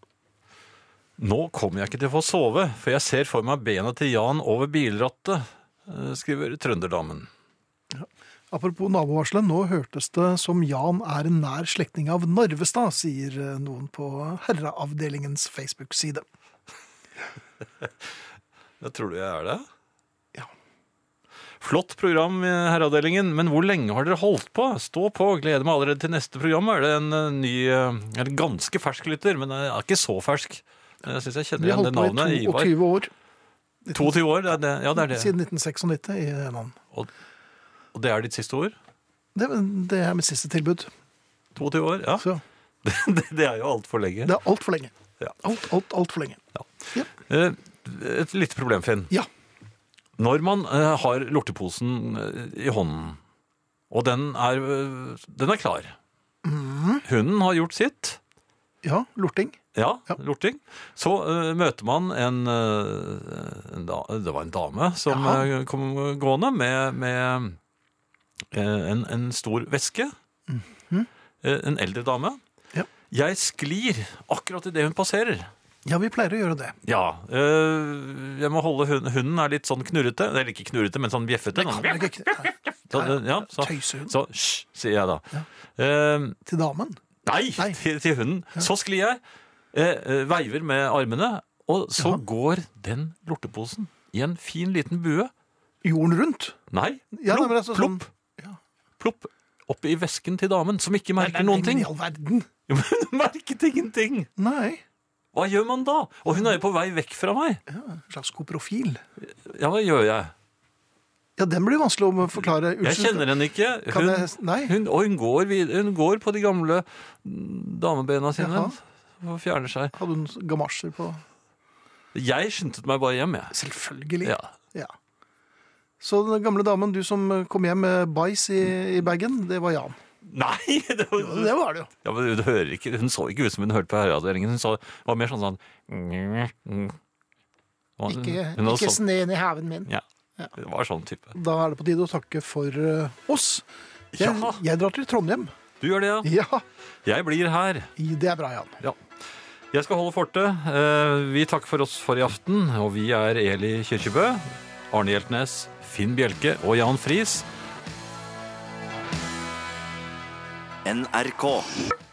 S4: Nå kommer jeg ikke til å få sove, for jeg ser for meg bena til Jan over bilrattet, eh, skriver trønderdamen.
S3: Apropos nabovarselet, nå hørtes det som Jan er en nær slektning av Narvestad, sier eh, noen på Herreavdelingens Facebook-side.
S4: Jeg tror du jeg er det?
S3: Ja.
S4: Flott program, i herreavdelingen, men hvor lenge har dere holdt på? Stå på, gleder meg allerede til neste program. Er det en eh, ny eh, En ganske fersk lytter, men eh, er ikke så fersk. Jeg syns jeg kjenner
S3: Vi
S4: igjen det
S3: holdt på
S4: navnet.
S3: i
S4: Ivar.
S3: 22 år,
S4: 22 år, det er det. Ja, det er det.
S3: siden 1996 i navn.
S4: Og det er ditt siste ord?
S3: Det, det er mitt siste tilbud.
S4: 22 år? Ja.
S3: Så
S4: Det, det er jo altfor lenge.
S3: det er altfor lenge.
S4: Ja.
S3: Alt, alt, altfor lenge.
S4: Eh, Et lite problem, Finn.
S3: Ja.
S4: Når man eh, har lorteposen eh, i hånden, og den er, eh, den er klar
S3: Mhm.
S4: Hunden har gjort sitt.
S3: Ja, lorting.
S4: Ja,
S3: Ja.
S4: lorting. Så eh, møter man en, eh, en da, Det var en dame som
S3: Jaha.
S4: eh, kom gående med, med eh, en, en stor veske. Eh, en eldre dame.
S3: Mhm. Ja.
S4: Jeg sklir akkurat idet hun passerer.
S3: Ja, vi pleier å gjøre det.
S4: Ja. øh, jeg må holde hunden, hunden er litt sånn knurrete. Eller ikke knurrete, men sånn bjeffete.
S3: Det er ikke- nei,
S4: Så, øh, ja, så,
S3: Tøysehund
S4: så hysj, sier jeg da. Eh,
S3: til damen.
S4: nei,
S3: Nei.
S4: Til, til hunden. Så sklir jeg, eh, eh, veiver med armene, og så går den lorteposen i en fin liten bue.
S3: Jorden rundt.
S4: Nei,
S3: Ja,
S4: plopp,
S3: nei, men altså
S4: plopp,
S3: sånn- ja.
S4: plopp. Opp i vesken til damen, som ikke merker noen
S3: Men
S4: ting.
S3: I all verden.
S4: Jo, men Hun merket ingenting!
S3: Nei.
S4: Hva gjør man da? Og hun er jo på vei vekk fra meg.
S3: En slags god profil.
S4: Ja, hva gjør jeg?
S3: Ja, den blir vanskelig å forklare.
S4: Jeg kjenner henne ikke.
S3: Kan
S4: Hun,
S3: jeg- nei.
S4: hun, og hun går, vid- hun går på de gamle mm, damebena sine
S3: Jaha.
S4: og fjerner seg.
S3: Hadde hun gamasjer på
S4: Jeg skyndte meg bare hjem, jeg.
S3: Selvfølgelig.
S4: Ja.
S3: Ja. Så den gamle damen, du som eh, kom hjem med bæsj i, i bagen, det var Jan.
S4: Nei! Det
S3: Ja,
S4: var,
S3: Det var det jo.
S4: ja, men du hører ikke, hun så ikke ut som hun hørte på Herreavdelingen. Hun så, var mer sånn sånn Hun var-
S3: Ikke,
S4: hun var
S3: ikke
S4: sånn,
S3: sneen i haven min.
S4: ja. Det var sånn type.
S3: Da er det på tide å takke for eh, oss. Jeg,
S4: Ja.
S3: jeg drar til Trondheim.
S4: Du gjør det, ja?
S3: Ja,
S4: Jeg blir her.
S3: det er bra, Jan.
S4: Ja. Jeg skal holde fortet. Eh, Vi takker for oss for i aften, og vi er Eli Kirkebø, Arne Hjeltnes, Finn Bjelke og Jan Friis.
S6: NRK.